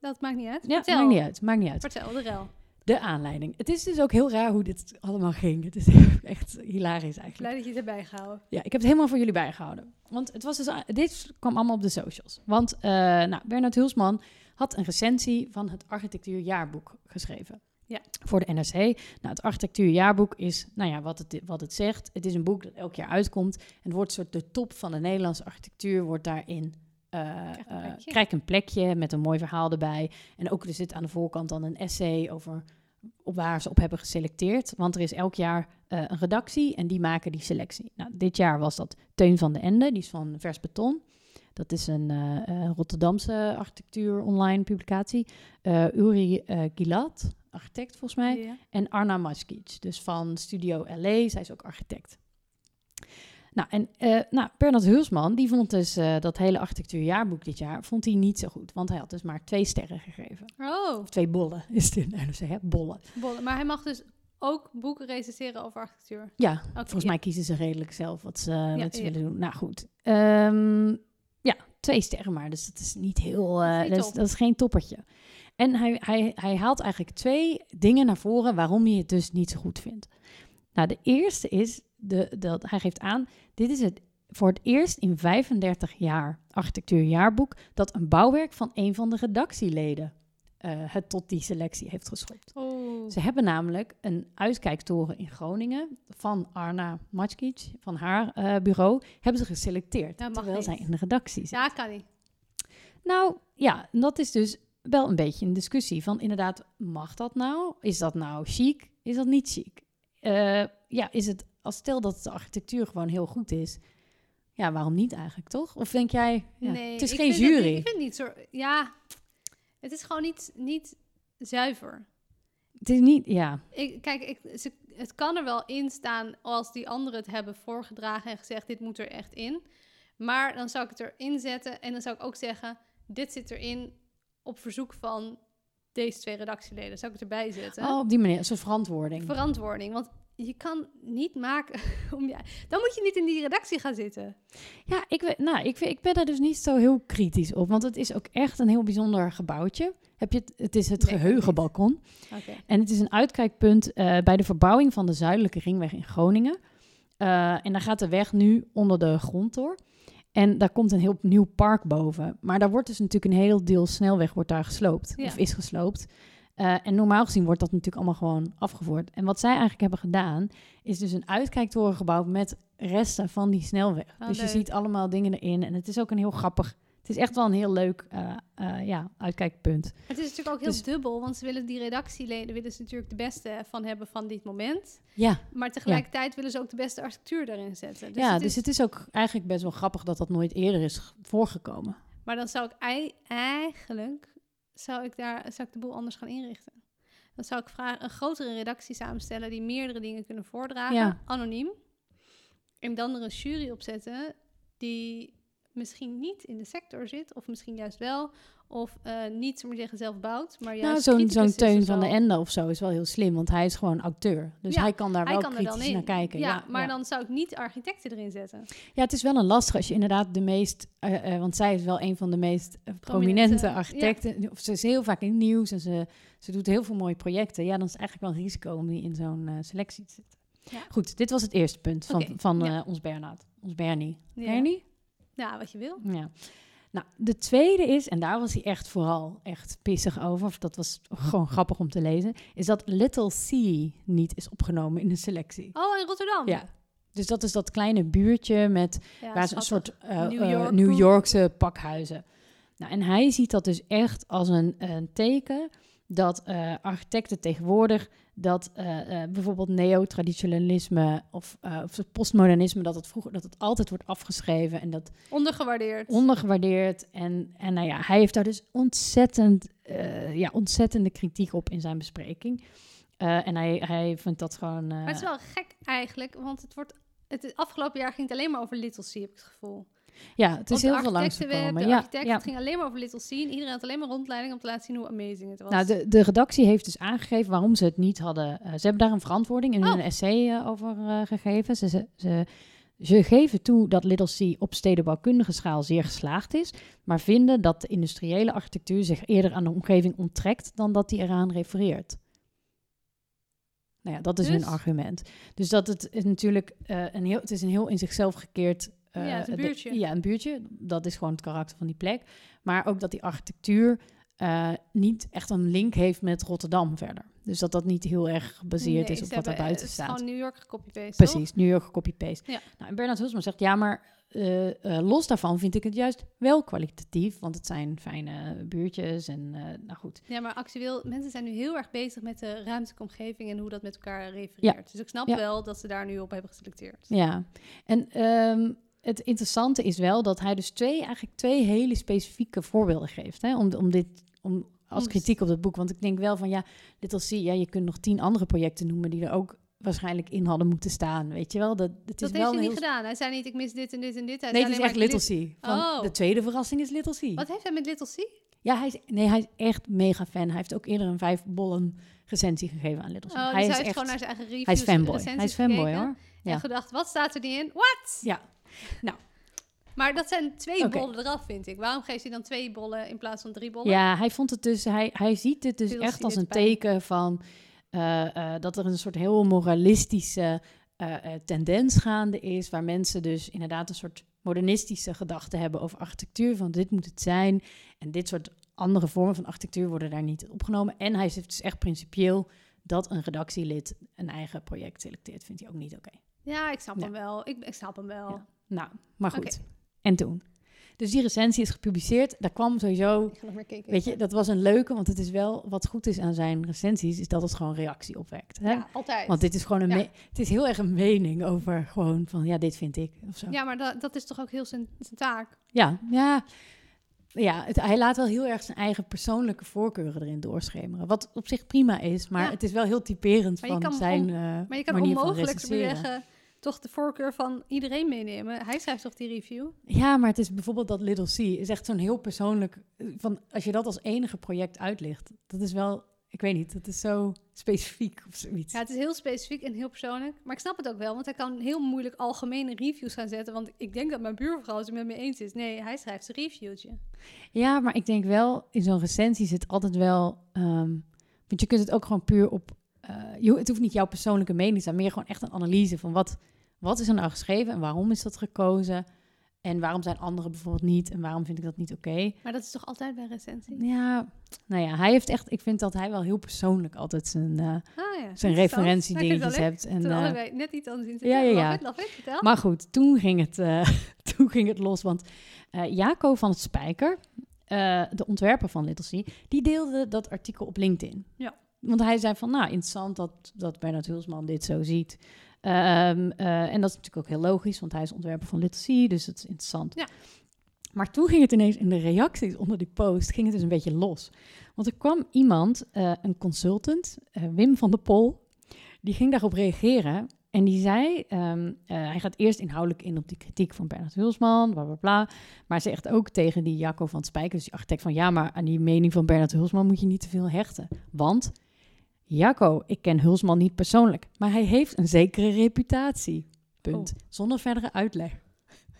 C: Dat maakt niet uit.
B: Ja,
C: Vertel.
B: maakt niet uit, maakt niet uit.
C: Vertel, de rel.
B: De aanleiding. Het is dus ook heel raar hoe dit allemaal ging. Het is echt hilarisch eigenlijk.
C: Blij dat je het erbij gehouden.
B: Ja, ik heb het helemaal voor jullie bijgehouden. Want het was dus, dit kwam allemaal op de socials. Want eh, nou, Bernard Hulsman had een recensie van het architectuurjaarboek geschreven.
C: Ja.
B: Voor de NRC. Nou, het architectuurjaarboek is, nou ja, wat het, wat het zegt. Het is een boek dat elk jaar uitkomt. En het wordt soort de top van de Nederlandse architectuur wordt daarin... eh
C: een
B: eh,
C: plekje.
B: krijg een plekje met een mooi verhaal erbij. En ook er zit aan de voorkant dan een essay over op waar ze op hebben geselecteerd. Want er is elk jaar eh, een redactie en die maken die selectie. Nou, dit jaar was dat Teun van de Ende, die is van Vers Beton. Dat is een eh, eh, Rotterdamse architectuur online publicatie. Eh, Uri eh Gilad, architect volgens mij.
C: Ja.
B: En Arna Maskic, dus van Studio LA. Zij is ook architect. Nou, en eh nou, Bernard Hulsman, die vond dus eh, dat hele architectuurjaarboek dit jaar vond hij niet zo goed. Want hij had dus maar twee sterren gegeven.
C: Oh,
B: Of twee bollen is het in de NRC, hè? Bollen.
C: bolle. maar hij mag dus ook boeken recenseren over architectuur.
B: Ja,
C: Oké,
B: volgens
C: ja.
B: mij kiezen ze redelijk zelf wat ze, wat ze
C: ja.
B: willen doen. Nou goed. Ehm, ja, twee sterren maar. Dus dat is niet heel. eh,
C: Dat is niet
B: dat, is,
C: top.
B: dat is geen toppertje. En hij, hij, hij haalt eigenlijk twee dingen naar voren waarom hij het dus niet zo goed vindt. Nou, de eerste is de, dat hij geeft aan: dit is het voor het eerst in 35 jaar architectuurjaarboek dat een bouwwerk van een van de redactieleden eh, het tot die selectie heeft geschopt.
C: Oh.
B: Ze hebben namelijk een uitkijktoren in Groningen van Arna Matskic, van haar eh, bureau, hebben ze geselecteerd.
C: Dat mag
B: terwijl
C: niet.
B: zij in de redactie zit.
C: Ja, kan niet.
B: Nou ja, en dat is dus wel een beetje een discussie van inderdaad, mag dat nou? Is dat nou chic? Is dat niet chic? Eh, ja, is het, als stel dat de architectuur gewoon heel goed is, ja, waarom niet eigenlijk, toch? Of denk jij, ja,
C: Nee,
B: het is
C: ik
B: geen
C: vind dat
B: jury.
C: niet- ik vind niet zo. Ja, het is gewoon niet, niet zuiver.
B: Het is niet, ja,
C: Ik, kijk, ik, ze- het kan er wel in staan als die anderen het hebben voorgedragen en gezegd: dit moet er echt in. Maar dan zou ik het erin zetten en dan zou ik ook zeggen: dit zit erin op verzoek van deze twee redactieleden. Zou ik het erbij zetten?
B: oh, op die manier, een soort verantwoording.
C: Verantwoording. Want je kan niet maken om je... Dan moet je niet in die redactie gaan zitten.
B: Ja, ik, we- nou, ik, vind- ik ben daar dus niet zo heel kritisch op. Want het is ook echt een heel bijzonder gebouwtje. Heb je het, het is het
C: Nee, ik
B: geheugenbalkon.
C: Oké.
B: En het is een uitkijkpunt eh, bij de verbouwing van de Zuidelijke Ringweg in Groningen. Eh, en daar gaat de weg nu onder de grond door. En daar komt een heel nieuw park boven. Maar daar wordt dus natuurlijk een heel deel snelweg wordt daar gesloopt.
C: Ja.
B: Of is gesloopt. Eh, en normaal gezien wordt dat natuurlijk allemaal gewoon afgevoerd. En wat zij eigenlijk hebben gedaan, is dus een uitkijktoren gebouwd met resten van die snelweg.
C: Ah,
B: dus je
C: leuk.
B: ziet allemaal dingen erin. En het is ook een heel grappig, het is echt wel een heel leuk eh, eh, ja, uitkijkpunt.
C: Het is natuurlijk ook heel
B: Dus-
C: dubbel, want ze willen die redactieleden willen ze natuurlijk de beste van hebben van dit moment.
B: Ja,
C: Maar tegelijkertijd willen ze ook de beste architectuur daarin zetten. Dus
B: ja,
C: het
B: dus
C: is-
B: het is ook eigenlijk best wel grappig dat dat nooit eerder is g- voorgekomen.
C: Maar dan zou ik ei- eigenlijk zou ik daar zou ik de boel anders gaan inrichten. Dan zou ik vragen, een grotere redactie samenstellen die meerdere dingen kunnen voordragen,
B: Ja.
C: anoniem. En dan er een jury op zetten die misschien niet in de sector zit, of misschien juist wel, of eh, niet, zullen we zeggen, zelf bouwt, maar juist
B: nou, zo'n
C: criticus
B: zo'n
C: is
B: Teun
C: of
B: van
C: zo.
B: de Ende of zo is wel heel slim, want hij is gewoon auteur. Dus
C: dus Ja,
B: hij kan daar
C: Hij
B: wel
C: kan er dan
B: kritisch
C: in.
B: naar kijken.
C: Ja,
B: Ja,
C: maar
B: ja.
C: dan zou ik niet architecten erin zetten.
B: ja, het is wel een lastig als je inderdaad de meest... eh, eh, want zij is wel een van de meest eh, prominente,
C: Prominente, ja.
B: architecten. Of ze is heel vaak in het nieuws en ze, ze doet heel veel mooie projecten. Ja, dan is het eigenlijk wel een risico om die in zo'n eh, selectie te zetten.
C: Ja.
B: Goed, dit was het eerste punt van,
C: Oké,
B: van
C: ja.
B: eh, ons Bernard. Ons Bernie.
C: Ja.
B: Bernie?
C: Ja, wat je wil.
B: Ja. Nou, de tweede is, en daar was hij echt vooral echt pissig over, of dat was gewoon grappig om te lezen, is dat Little C niet is opgenomen in de selectie.
C: Oh, in Rotterdam.
B: Ja. Dus dat is dat kleine buurtje met
C: Ja,
B: waar ze een
C: schattig.
B: soort eh, eh,
C: New
B: New,
C: York poep.
B: Yorkse pakhuizen. Nou, en hij ziet dat dus echt als een, een teken dat eh, architecten tegenwoordig dat eh, eh, bijvoorbeeld neotraditionalisme of, eh, of postmodernisme, dat het vroeger dat het altijd wordt afgeschreven en dat
C: Ondergewaardeerd.
B: ondergewaardeerd. En, en nou ja, hij heeft daar dus ontzettend, eh, ja, ontzettende kritiek op in zijn bespreking. Eh, en hij, hij vindt dat gewoon... eh,
C: Maar het is wel gek eigenlijk, want het wordt... Het het afgelopen jaar ging het alleen maar over Little C, heb ik het gevoel.
B: ja, het is
C: Op de
B: heel veel
C: architectenweb,
B: langsgekomen.
C: De
B: Ja,
C: architect,
B: ja.
C: het ging alleen maar over Little C. En iedereen had alleen maar rondleiding om te laten zien hoe amazing het was.
B: Nou, de, de redactie heeft dus aangegeven waarom ze het niet hadden. eh, ze hebben daar een verantwoording in
C: Oh.
B: hun essay eh, over eh, gegeven. Ze, ze, ze, ze geven toe dat Little C op stedenbouwkundige schaal zeer geslaagd is, maar vinden dat de industriële architectuur zich eerder aan de omgeving onttrekt dan dat die eraan refereert. Nou ja, dat is
C: Dus?
B: hun argument. Dus dat het is natuurlijk eh, een heel, het is een heel in zichzelf gekeerd. eh,
C: Ja, het is een
B: de-
C: buurtje.
B: ja, een buurtje. Dat is gewoon het karakter van die plek. Maar ook dat die architectuur eh, niet echt een link heeft met Rotterdam verder. Dus dat dat niet heel erg gebaseerd
C: Nee,
B: is op
C: ze
B: wat
C: hebben,
B: daar
C: eh,
B: buiten
C: het is
B: staat.
C: gewoon New York gecopy-paste, toch?
B: Precies, New York copy-paste.
C: Ja.
B: Nou, en Bernard Hulsman zegt, ja, maar eh, eh, los daarvan vind ik het juist wel kwalitatief. Want het zijn fijne buurtjes en eh, nou goed.
C: Ja, maar actueel, mensen zijn nu heel erg bezig met de ruimtelijke omgeving en hoe dat met elkaar refereert. Dus ik snap
B: Ja.
C: wel dat ze daar nu op hebben geselecteerd.
B: Ja, en ehm, het interessante is wel dat hij dus twee, eigenlijk twee hele specifieke voorbeelden geeft. Hè, om, om dit, om, als
C: Om-
B: kritiek op het boek. Want ik denk wel van, ja, Little C, ja, je kunt nog tien andere projecten noemen die er ook waarschijnlijk in hadden moeten staan. Weet je wel, dat, het is
C: dat
B: wel
C: heeft hij
B: een
C: niet
B: heel
C: gedaan. Hij zei niet, ik mis dit en dit en dit. Hij
B: Nee,
C: zei
B: het is
C: alleen
B: echt
C: maar, ik
B: Little C. Van,
C: Oh.
B: De tweede verrassing is Little C.
C: mis- Wat heeft hij met Little C?
B: Ja, hij is, nee, hij is echt mega fan. Hij heeft ook eerder een vijf bollen recensie gegeven aan Little C.
C: Oh, dus hij
B: hij
C: heeft
B: is echt,
C: gewoon naar zijn eigen reviews
B: hij is fanboy.
C: recensies
B: Hij is fanboy
C: gekeken
B: hoor. Ja.
C: En gedacht, wat staat er niet in? What?
B: Ja. Nou.
C: Maar dat zijn twee
B: Oké.
C: bollen eraf, vind ik. Waarom geeft hij dan twee bollen in plaats van drie bollen?
B: ja, hij vond het dus, hij, hij ziet dit dus
C: Little C
B: echt als
C: dit
B: een
C: pijn.
B: teken van eh, eh, dat er een soort heel moralistische eh, eh, tendens gaande is. Waar mensen dus inderdaad een soort modernistische gedachten hebben over architectuur. Van dit moet het zijn. En dit soort andere vormen van architectuur worden daar niet opgenomen. En hij zegt dus echt principieel dat een redactielid een eigen project selecteert. Vindt hij ook niet oké.
C: Ja, ik snap
B: Ja.
C: hem wel. Ik, ik snap hem wel.
B: Ja. Nou, maar goed.
C: Oké.
B: En toen. Dus die recensie is gepubliceerd. Daar kwam sowieso,
C: Ik ga nog maar kijken.
B: weet je, dat was een leuke, want het is wel wat goed is aan zijn recensies, is dat het gewoon reactie opwekt. Hè?
C: Ja, altijd.
B: Want dit is gewoon een,
C: Ja.
B: me- het is heel erg een mening over gewoon van, ja, dit vind ik of zo.
C: Ja, maar dat, dat is toch ook heel zijn, zijn taak?
B: Ja, ja. Ja, het, hij laat wel heel erg zijn eigen persoonlijke voorkeuren erin doorschemeren. Wat op zich prima is, maar
C: Ja.
B: het is wel heel typerend
C: Maar je
B: van
C: kan
B: zijn
C: on-
B: eh,
C: Maar je kan
B: manier van
C: onmogelijk
B: recenseren.
C: zeggen, toch de voorkeur van iedereen meenemen. Hij schrijft toch die review?
B: Ja, maar het is bijvoorbeeld dat Little C is echt zo'n heel persoonlijk. eh, Van als je dat als enige project uitlicht, dat is wel Ik weet niet, dat is zo specifiek of zoiets.
C: Ja, het is heel specifiek en heel persoonlijk. Maar ik snap het ook wel, want hij kan heel moeilijk algemene reviews gaan zetten. Want ik denk dat mijn buurvrouw het er met me eens is. Nee, hij schrijft een reviewtje.
B: Ja, maar ik denk wel, in zo'n recensie zit altijd wel. ehm, want je kunt het ook gewoon puur op. eh, je ho- het hoeft niet jouw persoonlijke mening te zijn, meer gewoon echt een analyse van wat, wat is er nou geschreven en waarom is dat gekozen. En waarom zijn anderen bijvoorbeeld niet en waarom vind ik dat niet oké.
C: Maar dat is toch altijd bij recensie?
B: Ja, nou ja, hij heeft echt. Ik vind dat hij wel heel persoonlijk altijd zijn, eh,
C: Ah ja.
B: zijn referentiedingetjes
C: hebt.
B: hebt. En,
C: Toen
B: eh,
C: allebei net iets anders in zitten.
B: ja, ja, ja.
C: Love it, love it, vertel.
B: Maar goed, toen ging het, eh, toen ging het los. Want eh, Jaco van het Spijker, eh, de ontwerper van Little C, die deelde dat artikel op LinkedIn.
C: Ja.
B: Want hij zei van, nou, interessant dat, dat Bernard Hulsman dit zo ziet. Ehm, eh, en dat is natuurlijk ook heel logisch, want hij is ontwerper van Little C, dus het is interessant.
C: Ja.
B: Maar toen ging het ineens in de reacties onder die post, ging het dus een beetje los. Want er kwam iemand, eh, een consultant, eh, Wim van der Pol, die ging daarop reageren. En die zei, ehm, eh, hij gaat eerst inhoudelijk in op die kritiek van Bernard Hulsman, bla bla bla. Maar zegt ook tegen die Jacco van Spijker, dus die architect, van ja, maar aan die mening van Bernard Hulsman moet je niet te veel hechten. Want, Jacco, ik ken Hulsman niet persoonlijk, maar hij heeft een zekere reputatie. Punt. Zonder verdere uitleg.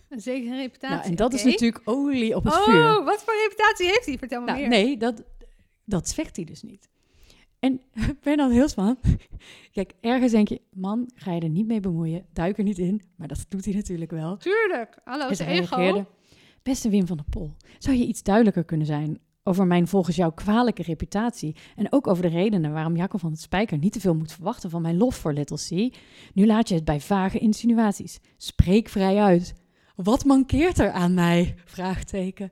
C: Een zekere reputatie.
B: Nou, en dat is
C: oké.
B: natuurlijk olie op het
C: oh,
B: vuur.
C: wat voor reputatie heeft hij? Vertel me
B: Nou,
C: meer.
B: nee, dat, dat zegt hij dus niet. En Bernard Hilsman, kijk, ergens denk je, man, ga je er niet mee bemoeien, duik er niet in. Maar dat doet hij natuurlijk wel.
C: Tuurlijk. Hallo,
B: En
C: zijn
B: ze
C: Oh, ego.
B: reageerde, Beste Wim van der Pol, zou je iets duidelijker kunnen zijn over mijn volgens jou kwalijke reputatie en ook over de redenen waarom Jacob van het Spijker niet te veel moet verwachten van mijn lof voor Little C? Nu laat je het bij vage insinuaties. Spreek vrij uit. Wat mankeert er aan mij? Vraagteken.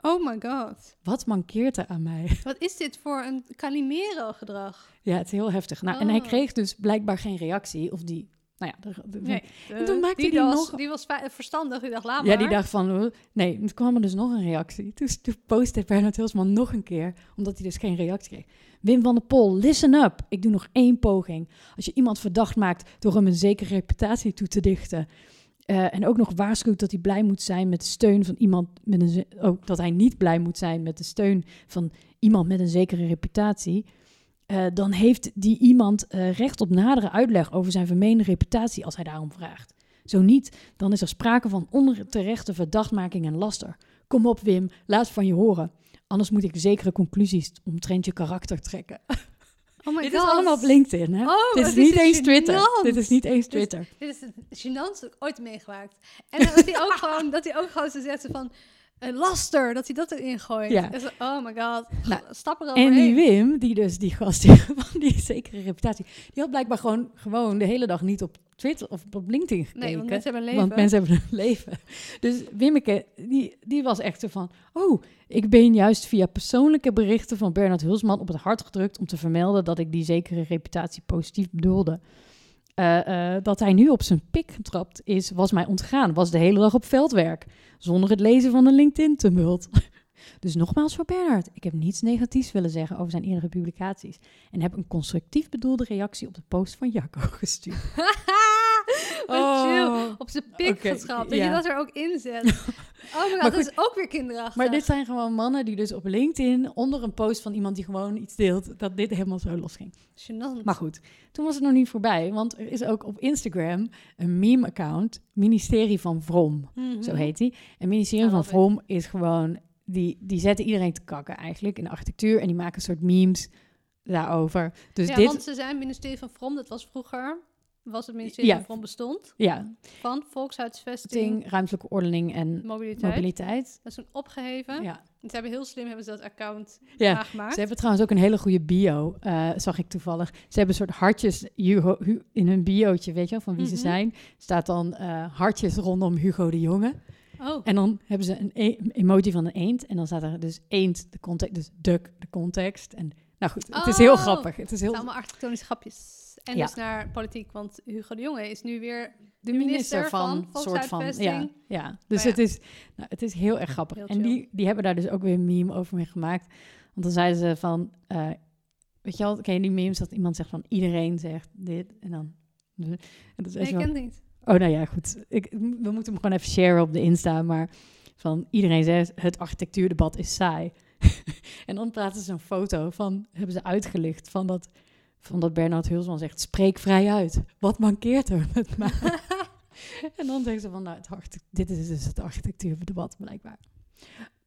C: Oh my god.
B: Wat mankeert er aan mij?
C: Wat is dit voor een Calimero gedrag?
B: Ja, het is heel heftig. Nou, En hij
C: Oh.
B: kreeg dus blijkbaar geen reactie. Of die, nou ja, de- de-
C: Eh,
B: En toen maakte
C: die
B: die
C: was,
B: nog-
C: Die was fi- verstandig. Die dacht, laat maar.
B: ja, die dacht van, "Huh?" nee, toen kwam er dus nog een reactie. Toen, toen postte Bernard Hilsman nog een keer, omdat hij dus geen reactie kreeg. Wim van der Pol, listen up. Ik doe nog één poging. Als je iemand verdacht maakt door hem een zekere reputatie toe te dichten... eh, en ook nog waarschuwt dat hij blij moet zijn met de steun van iemand met een... ze- Ook dat hij niet blij moet zijn met de steun van iemand met een zekere reputatie... eh, dan heeft die iemand eh, recht op nadere uitleg over zijn vermeende reputatie als hij daarom vraagt. Zo niet, dan is er sprake van onterechte verdachtmaking en laster. Kom op, Wim, laat van je horen. Anders moet ik zekere conclusies omtrent je karakter trekken.
C: Oh my
B: Dit is
C: god.
B: allemaal op LinkedIn, hè?
C: Oh,
B: Dit is
C: wat
B: niet
C: dit
B: eens Twitter.
C: gênant.
B: Dit is niet eens
C: is-
B: Twitter.
C: Dit is het gênantste dat ik ooit meegemaakt. En dat hij ook gewoon, dat hij ook gewoon zo zegt van... Een laster, dat hij dat erin gooit.
B: Ja.
C: Dus, oh my god.
B: Nou,
C: Stap er
B: En die
C: overheen.
B: Wim, die dus die gast die van die zekere reputatie, die had blijkbaar gewoon, gewoon de hele dag niet op Twitter of op LinkedIn gekeken.
C: Nee, want mensen hebben een leven.
B: Want mensen hebben een leven. Dus Wimmeke, die, die was echt zo van... Oh, ik ben juist via persoonlijke berichten van Bernard Hulsman op het hart gedrukt... om te vermelden dat ik die zekere reputatie positief bedoelde. Eh, eh, dat hij nu op zijn pik getrapt is, was mij ontgaan. Was de hele dag op veldwerk. Zonder het lezen van een LinkedIn-tumult. Dus nogmaals voor Bernard. Ik heb niets negatiefs willen zeggen over zijn eerdere publicaties. En heb een constructief bedoelde reactie op de post van Jacco gestuurd.
C: Wat chill. Op zijn pik
B: Oh. Oké,
C: geschrapt. Dat
B: ja.
C: je dat er ook in zet. Oh my god,
B: Maar
C: dat is ook weer kinderachtig.
B: Maar dit zijn gewoon mannen die dus op LinkedIn onder een post van iemand die gewoon iets deelt, dat dit helemaal zo losging.
C: Gênant.
B: Maar goed, toen was het nog niet voorbij, want er is ook op Instagram een meme-account, Ministerie van Vrom,
C: Mhm.
B: zo heet die. En Ministerie
C: I
B: van
C: love it.
B: Vrom is gewoon, die, die zetten iedereen te kakken eigenlijk in de architectuur en die maken een soort memes daarover. Dus
C: ja,
B: dit,
C: want ze zijn het ministerie van Vrom, dat was vroeger, was het ministerie
B: Ja.
C: van Vrom bestond,
B: ja,
C: van volkshuisvesting,
B: ding, ruimtelijke ordening en
C: mobiliteit.
B: mobiliteit.
C: Dat is toen opgeheven.
B: Ja.
C: En ze hebben heel slim hebben ze dat account
B: Ja,
C: aangemaakt.
B: Ze hebben trouwens ook een hele goede bio, eh, zag ik toevallig. Ze hebben een soort hartjes Hugo- Hu- in hun biootje, weet je wel, van wie
C: Mhm.
B: ze zijn. Staat dan eh, hartjes rondom Hugo de Jonge.
C: Oh,
B: En dan hebben ze een e- emoji van een eend. En dan staat er dus eend, de context, dus duck, de context. En nou goed, het is heel
C: Oh,
B: grappig. Het is heel...
C: allemaal architectonische grapjes. En
B: Ja.
C: dus naar politiek, want Hugo de Jonge is nu weer
B: de
C: minister van
B: Ja,
C: volkshuisvesting.
B: ja.
C: Maar
B: dus
C: ja.
B: het, is, nou, het is heel erg grappig.
C: Heel
B: en die, die hebben daar dus ook weer een meme over mee gemaakt. Want dan zeiden ze van, eh, weet je wel, ken je die memes dat iemand zegt van iedereen zegt dit en dan... En dat is
C: Nee,
B: echt
C: ik
B: wel-
C: ken het niet.
B: Oh, nou ja, goed. Ik, we moeten hem gewoon even sharen op de Insta, maar van iedereen zegt het architectuurdebat is saai. en dan praten ze een foto van, hebben ze uitgelicht van dat, van dat Bernard Hulsman zegt, spreek vrij uit. Wat mankeert er met mij? en dan zeggen ze van, nou, het architect- dit is dus het architectuurdebat blijkbaar.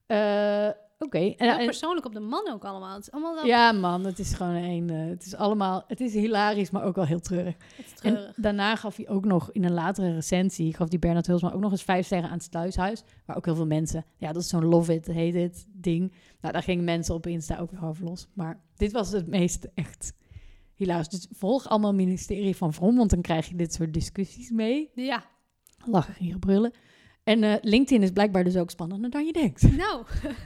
B: Eh, Oké. En-
C: Heel
B: en-
C: persoonlijk op de man ook allemaal. Het is allemaal wel
B: ja, man, het is gewoon een. eh, het is allemaal. Het is hilarisch, maar ook wel heel treurig.
C: het is
B: En
C: treurig.
B: daarna gaf hij ook nog in een latere recensie. gaf die Bernard Hulsman ook nog eens vijf sterren aan het sluishuis. Waar ook heel veel mensen. Ja, dat is zo'n love it, hate it ding. Nou, daar gingen mensen op Insta ook weer over los. Maar dit was het meest echt hilarisch. Dus volg allemaal ministerie van Vrom, want dan krijg je dit soort discussies mee.
C: Ja,
B: Lachen, hier brullen. En eh, LinkedIn is blijkbaar dus ook spannender dan je denkt.
C: nou.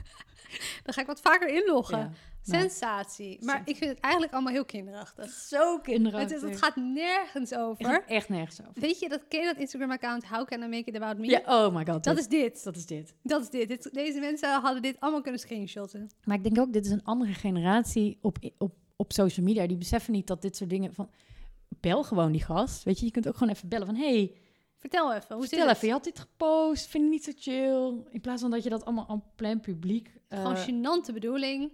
C: Dan ga ik wat vaker inloggen.
B: Ja, nou.
C: Sensatie. Maar ik vind het eigenlijk allemaal heel kinderachtig.
B: zo kinderachtig.
C: Het, is, het gaat nergens
B: Het gaat
C: over.
B: echt nergens over.
C: Weet je, dat ken je dat Instagram-account How Can I Make It About Me?
B: Ja, oh my god.
C: Dat is dit.
B: dat is dit.
C: Dat is dit. dit. Deze mensen hadden dit allemaal kunnen screenshotten.
B: Maar ik denk ook, dit is een andere generatie op, op, op social media. Die beseffen niet dat dit soort dingen van... Bel gewoon die gast. Weet je, je kunt ook gewoon even bellen van... Hey,
C: Vertel even. Hoe
B: Hoe
C: zit
B: vertel
C: het?
B: even, je had dit gepost. Vind je niet zo chill? In plaats van dat je dat allemaal aan plein publiek... eh,
C: Gewoon gênante bedoeling.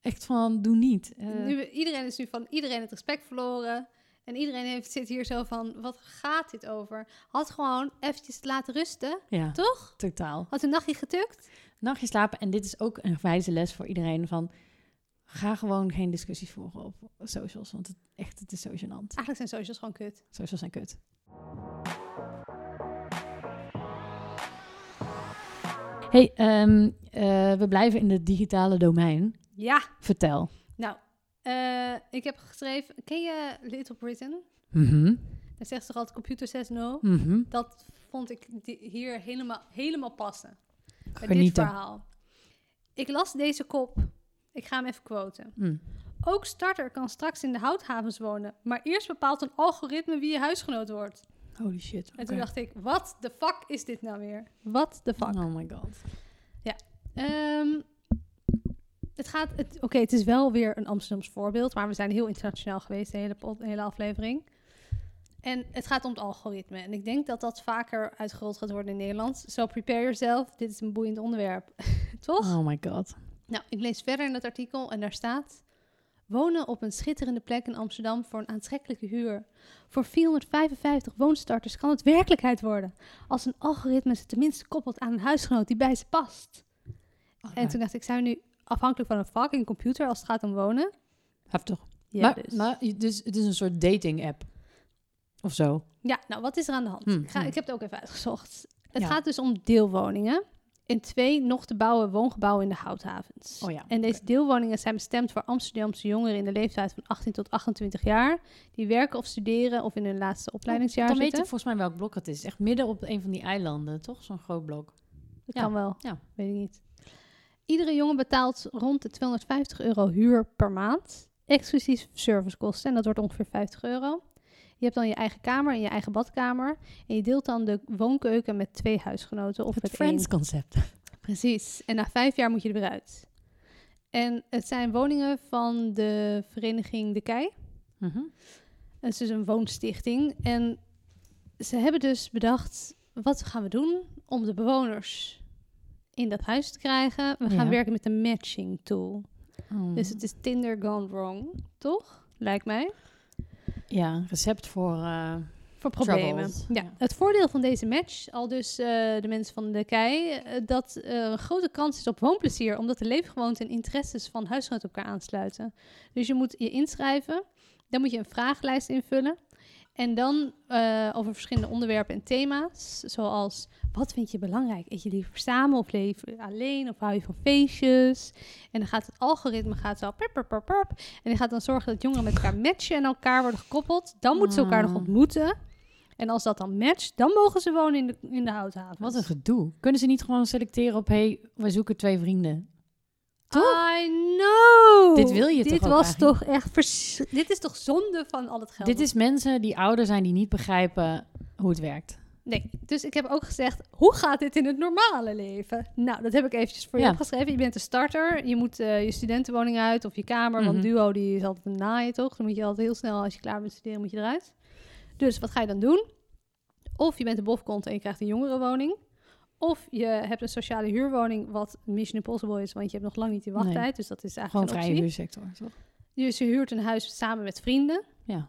B: echt van, doe niet. Eh,
C: Nu, iedereen is nu van iedereen het respect verloren. En iedereen heeft, zit hier zo van, wat gaat dit over? Had gewoon eventjes laten rusten,
B: ja,
C: toch?
B: totaal.
C: Had een nachtje getukt?
B: Nachtje slapen. En dit is ook een wijze les voor iedereen van... Ga gewoon geen discussies voeren op socials. Want het, echt, het is zo gênant.
C: Eigenlijk zijn socials gewoon kut.
B: Socials zijn kut. Hey, ehm, eh, we blijven in het digitale domein.
C: Ja,
B: Vertel.
C: nou. eh, ik heb geschreven, ken je Little Britain?
B: Mhm,
C: Daar zegt ze toch altijd computer says no?
B: mhm.
C: Dat vond ik di- hier helemaal, helemaal passen. Bij dit
B: Genieten.
C: verhaal. Ik las deze kop. Ik ga hem even quoten.
B: Mm.
C: Ook starter kan straks in de houthavens wonen. Maar eerst bepaalt een algoritme wie je huisgenoot wordt.
B: Holy shit.
C: En toen dacht ik, wat de fuck is dit nou weer? Wat de fuck?
B: Oh my god.
C: Ehm, het gaat, het, oké, het is wel weer een Amsterdams voorbeeld, maar we zijn heel internationaal geweest de hele, pod- de hele aflevering. En het gaat om het algoritme. En ik denk dat dat vaker uitgerold gaat worden in Nederland. So prepare yourself, dit is een boeiend onderwerp. Toch?
B: Oh my god.
C: Nou, ik lees verder in het artikel en daar staat... Wonen op een schitterende plek in Amsterdam voor een aantrekkelijke huur. Voor 455 woonstarters kan het werkelijkheid worden. Als een algoritme ze tenminste koppelt aan een huisgenoot die bij ze past. En toen dacht ik, zijn we nu afhankelijk van een fucking computer als het gaat om wonen?
B: Heftig.
C: Ja,
B: maar, maar je- dus het is een soort dating app. Of zo.
C: Ja, nou, wat is er aan de hand?
B: Hmm,
C: Ik, ga,
B: hmm.
C: ik heb het ook even uitgezocht. Het
B: Ja.
C: gaat dus om deelwoningen. In twee nog te bouwen woongebouwen in de houthavens.
B: Oh ja,
C: en deze deelwoningen zijn bestemd voor Amsterdamse jongeren in de leeftijd van 18 tot 28 jaar. Die werken of studeren of in hun
B: Oh,
C: laatste opleidingsjaar
B: Dan weet ik
C: zitten.
B: volgens mij welk blok het is. Echt midden op een van die eilanden, toch? Zo'n groot blok.
C: Dat
B: ja.
C: kan wel.
B: Ja.
C: Weet ik niet. Iedere jongen betaalt rond de 250 euro huur per maand. Exclusief servicekosten. En dat wordt ongeveer 50 euro. Je hebt dan je eigen kamer en je eigen badkamer. En je deelt dan de woonkeuken met twee huisgenoten of
B: het
C: met één.
B: Friends concept.
C: Precies. En na vijf jaar moet je er weer uit. En het zijn woningen van de vereniging De Kei.
B: Mhm.
C: Het is dus een woonstichting. En ze hebben dus bedacht, wat gaan we doen om de bewoners in dat huis te krijgen? We gaan
B: Ja.
C: werken met een matching tool.
B: Oh.
C: Dus het is Tinder gone wrong, toch? Lijkt mij.
B: Ja, een recept voor... eh,
C: Voor problemen.
B: Troubles.
C: Ja.
B: Ja.
C: Het voordeel van deze match, al dus eh, de mensen van de kei, eh, dat er een grote kans is op woonplezier, omdat de leefgewoonten en interesses van huisgenoten elkaar aansluiten. Dus je moet je inschrijven, dan moet je een vragenlijst invullen. En dan eh, over verschillende onderwerpen en thema's, zoals wat vind je belangrijk? Eet je liever samen of leef je alleen of hou je van feestjes? En dan gaat het algoritme gaat zo pep, pep, pep, pep. en die gaat dan zorgen dat jongeren met elkaar matchen en aan elkaar worden gekoppeld. Dan moeten ze elkaar nog
B: Ah.
C: ontmoeten. En als dat dan matcht, dan mogen ze wonen in de, in de houthaven.
B: Wat een gedoe. Kunnen ze niet gewoon selecteren op, hey, wij zoeken twee vrienden?
C: I know!
B: Dit wil je
C: dit
B: toch ook
C: was
B: eigenlijk?
C: toch echt... vers- Dit is toch zonde van al het geld?
B: Dit is mensen die ouder zijn die niet begrijpen hoe het werkt.
C: Nee, dus ik heb ook gezegd, hoe gaat dit in het normale leven? Nou, dat heb ik eventjes voor je
B: Ja.
C: opgeschreven. Je bent een starter, je moet eh, je studentenwoning uit of je kamer, want
B: Mhm.
C: duo die is altijd een naaien, toch? Dan moet je altijd heel snel, als je klaar bent met studeren, moet je eruit. Dus wat ga je dan doen? Of je bent een bofkont en je krijgt een jongerenwoning. Of je hebt een sociale huurwoning, wat Mission Impossible is, want je hebt nog lang niet die wachttijd.
B: Nee.
C: Dus dat is
B: Gewoon
C: eigenlijk geen
B: vrije
C: optie.
B: huursector, toch?
C: Dus je huurt een huis samen met vrienden.
B: Ja.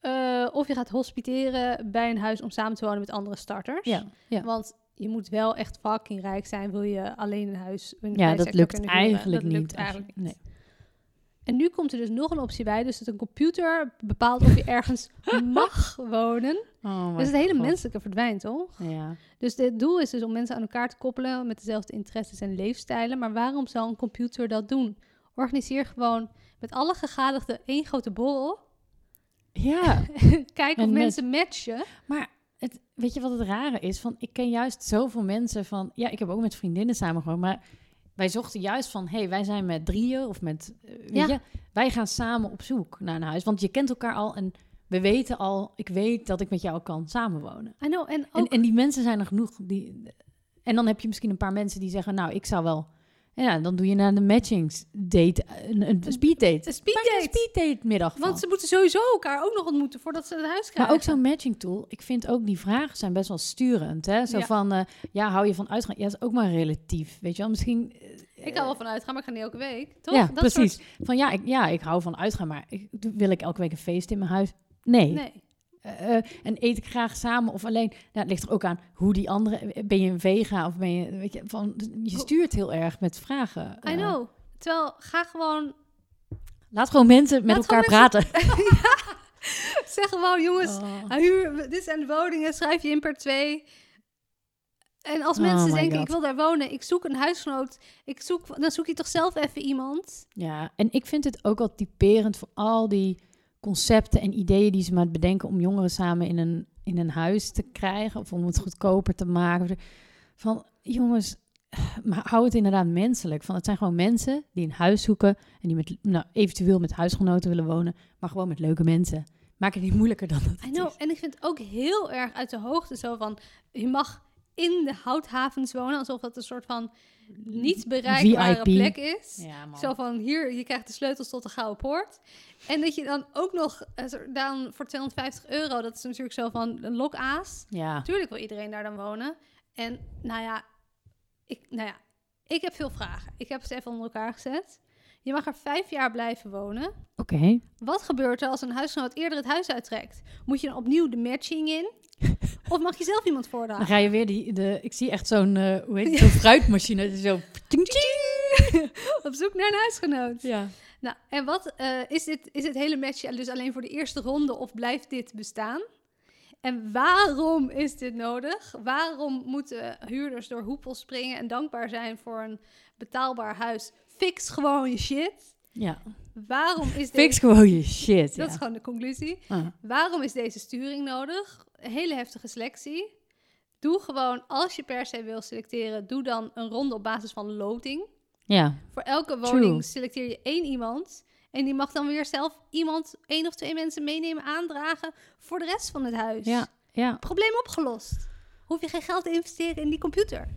C: Eh, of je gaat hospiteren bij een huis om samen te wonen met andere starters.
B: Ja, ja.
C: Want je moet wel echt fucking rijk zijn, wil je alleen een huis. Een
B: ja dat
C: huissector
B: lukt
C: kunnen huren.
B: eigenlijk
C: Dat
B: niet.
C: lukt
B: als je-
C: eigenlijk niet.
B: nee.
C: En nu komt er dus nog een optie bij. Dus dat een computer bepaalt of je ergens mag wonen.
B: Oh my
C: Dus het hele
B: God.
C: menselijke verdwijnt, toch?
B: Ja.
C: Dus het doel is dus om mensen aan elkaar te koppelen met dezelfde interesses en leefstijlen. Maar waarom zou een computer dat doen? Organiseer gewoon met alle gegadigden één grote borrel.
B: ja,
C: Kijk of
B: En met-
C: mensen matchen.
B: maar het, weet je wat het rare is? Van, ik ken juist zoveel mensen van... Ja, ik heb ook met vriendinnen samengewoond, maar... Wij zochten juist van, hey, wij zijn met drieën of met... eh, weet
C: Ja.
B: je, wij gaan samen op zoek naar een huis. Want je kent elkaar al en we weten al... Ik weet dat ik met jou kan samenwonen.
C: I know, en
B: En,
C: ook...
B: en die mensen zijn er genoeg. Die, en dan heb je misschien een paar mensen die zeggen, nou, ik zou wel... Ja, dan doe je na de matchings date, een, een speed date.
C: Een speeddate.
B: Maak er een speed date middag van.
C: Want ze moeten sowieso elkaar ook nog ontmoeten voordat ze het huis krijgen.
B: Maar ook zo'n matching tool, ik vind ook die vragen zijn best wel sturend. Hè? Zo
C: Ja.
B: van, eh, ja, hou je van uitgaan? Ja, dat is ook maar relatief, weet je wel. Misschien, eh,
C: Ik kan wel vanuit gaan, maar ik ga niet elke week. Toch?
B: ja,
C: Dat
B: precies.
C: soort-
B: Van ja ik, ja, ik hou van uitgaan, maar ik, wil ik elke week een feest in mijn huis? Nee.
C: Nee.
B: Eh, eh, en eet ik graag samen of alleen? Nou, het ligt er ook aan hoe die andere... Ben je een vega of ben je... Weet je, van, je stuurt heel erg met vragen.
C: I
B: Eh,
C: know. Terwijl, ga gewoon...
B: Laat gewoon mensen met
C: Laat
B: elkaar
C: gewoon
B: praten.
C: Zeg gewoon, jongens,
B: Oh.
C: Ah, Huur, dit zijn de woningen, schrijf je in per twee. En als
B: Oh
C: mensen
B: my
C: denken,
B: God.
C: ik wil daar wonen, ik zoek een huisgenoot, ik zoek, dan zoek je toch zelf even iemand.
B: Ja, en ik vind het ook wel typerend voor al die concepten en ideeën die ze maar bedenken om jongeren samen in een, in een huis te krijgen of om het goedkoper te maken. Van jongens, maar hou het inderdaad menselijk. Van het zijn gewoon mensen die een huis zoeken en die met, nou, eventueel met huisgenoten willen wonen, maar gewoon met leuke mensen. Maak het niet moeilijker dan dat.
C: I
B: het
C: know.
B: is.
C: En ik vind het ook heel erg uit de hoogte zo van, je mag in de houthavens wonen, alsof dat een soort van niet bereikbare
B: VIP.
C: plek is.
B: Ja, man.
C: Zo van, hier, je krijgt de sleutels tot de Gouden Poort. En dat je dan ook nog, eh, zo- dan voor 250 euro, dat is natuurlijk zo van een lokaas.
B: Ja.
C: Natuurlijk wil iedereen daar dan wonen. En nou ja, ik, nou ja, ik heb veel vragen. Ik heb ze even onder elkaar gezet. Je mag er vijf jaar blijven wonen.
B: Oké.
C: Wat gebeurt er als een huisgenoot eerder het huis uittrekt? Moet je dan opnieuw de matching in? Of mag je zelf iemand
B: Dan
C: voordragen?
B: ga je weer die, de, ik zie echt zo'n, eh, hoe heet het, zo'n fruitmachine. die Zo, ting, ting.
C: Op zoek naar een huisgenoot.
B: Ja.
C: Nou, en wat eh, is, dit, is dit hele match dus alleen voor de eerste ronde of blijft dit bestaan? En waarom is dit nodig? Waarom moeten huurders door hoepels springen en dankbaar zijn voor een betaalbaar huis? Fix gewoon je shit.
B: Ja.
C: Waarom is
B: Fix
C: deze...
B: gewoon je shit.
C: Dat
B: ja.
C: is gewoon de conclusie.
B: Ah.
C: Waarom is deze sturing nodig? Een hele heftige selectie. Doe gewoon, als je per se wil selecteren, doe dan een ronde op basis van loting.
B: Ja,
C: Voor elke
B: True.
C: woning selecteer je één iemand. En die mag dan weer zelf iemand, één of twee mensen meenemen, aandragen voor de rest van het huis.
B: ja, ja.
C: Probleem opgelost. Hoef je geen geld te investeren in die computer.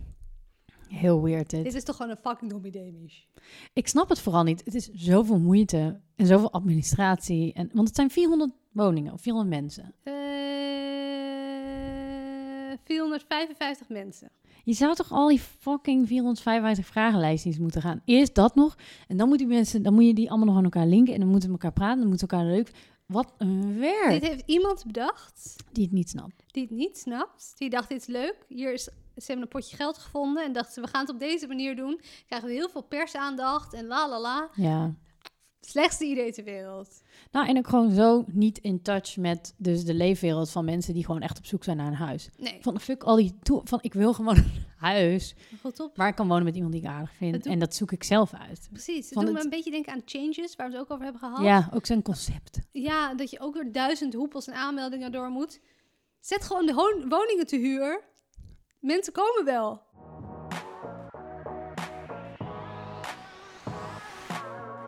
B: Heel weird dit.
C: Dit is toch gewoon een fucking dom idee, Mich.
B: Ik snap het vooral niet. Het is zoveel moeite en zoveel administratie. En, want het zijn 400 woningen of 400 mensen.
C: Eh, 455 mensen.
B: Je zou toch al die fucking 455 vragenlijstjes moeten gaan. Eerst dat nog. En dan, moet die mensen, dan moet je die allemaal nog aan elkaar linken. En dan moeten we elkaar praten. Dan moeten we elkaar leuk... Wat een werk
C: Dit heeft iemand bedacht
B: die het niet snapt.
C: die het niet snapt. Die dacht, dit is leuk. Hier is, ze hebben een potje geld gevonden en dachten, we gaan het op deze manier doen. Krijgen we heel veel persaandacht en la la la.
B: Ja.
C: Slechtste idee ter wereld.
B: Nou, en ook gewoon zo niet in touch met dus de leefwereld van mensen die gewoon echt op zoek zijn naar een huis.
C: Nee,
B: Van fuck al die... toe- Van ik wil gewoon een huis.
C: goed op.
B: Maar ik kan wonen met iemand die ik aardig
C: Dat
B: vind.
C: doe-
B: En dat zoek ik zelf uit.
C: Precies. Het
B: Van
C: doet me
B: het-
C: een beetje denken aan changes, waar we het ook over hebben gehad.
B: Ja, ook zo'n concept.
C: Ja, dat je ook weer duizend hoepels en aanmeldingen door moet. Zet gewoon de ho- woningen te huur. Mensen komen wel.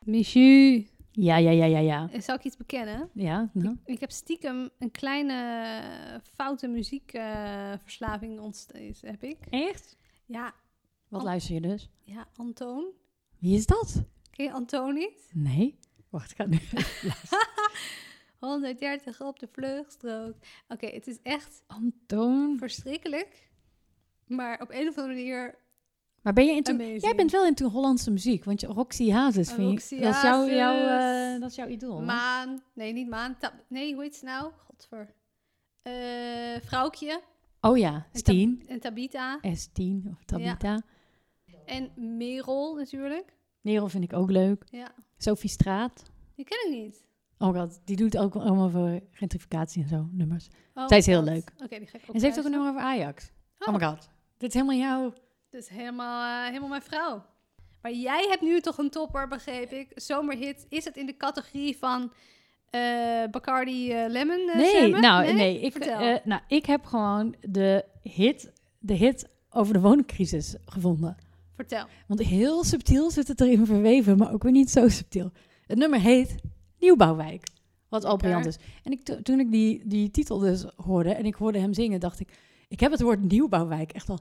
C: Michu.
B: Ja, ja, ja, ja, ja.
C: Eh, Zal ik iets bekennen?
B: Ja, nou.
C: Ik heb stiekem een kleine eh, foute muziekverslaving ontsteeds, heb ik.
B: Echt?
C: Ja,
B: Wat
C: Oh.
B: luister je dus?
C: ja, Antoon.
B: Wie is dat?
C: Ken je Antoon niet?
B: Nee. Wacht, ik ga nu...
C: 130 op de vluchtstrook. Oké, het is echt
B: Antoon.
C: verschrikkelijk. Maar op een of andere manier
B: Maar ben je into,
C: amazing.
B: jij bent wel into Hollandse muziek, want je, Roxy Hazes, vind je-
C: Roxy
B: dat, is jouw, jouw,
C: Hazes.
B: eh, dat is jouw idool. hè?
C: Maan. Nee, niet Maan. Ta- nee, hoe heet ze nou? Godver. Eh vrouwkje.
B: oh ja,
C: En Tab-
B: Steen.
C: En Tabita.
B: S10 of Tabita.
C: En Merel natuurlijk.
B: Merel vind ik ook leuk.
C: Ja,
B: Sophie Straat.
C: die ken ik niet.
B: Oh god, die doet ook allemaal voor gentrificatie en zo, nummers.
C: Oh,
B: Zij is heel
C: God.
B: leuk.
C: Oké, die ga ik
B: En ze heeft ook
C: opschrijven.
B: een nummer over Ajax.
C: Oh.
B: Oh, my god, dit is helemaal jouw...
C: Dus helemaal, eh, helemaal mijn vrouw. Maar jij hebt nu toch een topper, begreep ik. Zomerhit. Is het in de categorie van eh, Bacardi eh, Lemon? eh,
B: Nee,
C: jammen?
B: nou, nee? ik,
C: Vertel.
B: eh, nou, ik heb gewoon de hit, de hit over de woningcrisis gevonden.
C: Vertel.
B: Want heel subtiel zit het erin verweven, maar ook weer niet zo subtiel. Het nummer heet Nieuwbouwwijk, wat al
C: Lekker.
B: briljant is. En ik, to- toen ik die, die titel dus hoorde en ik hoorde hem zingen, dacht ik... Ik heb het woord Nieuwbouwwijk echt al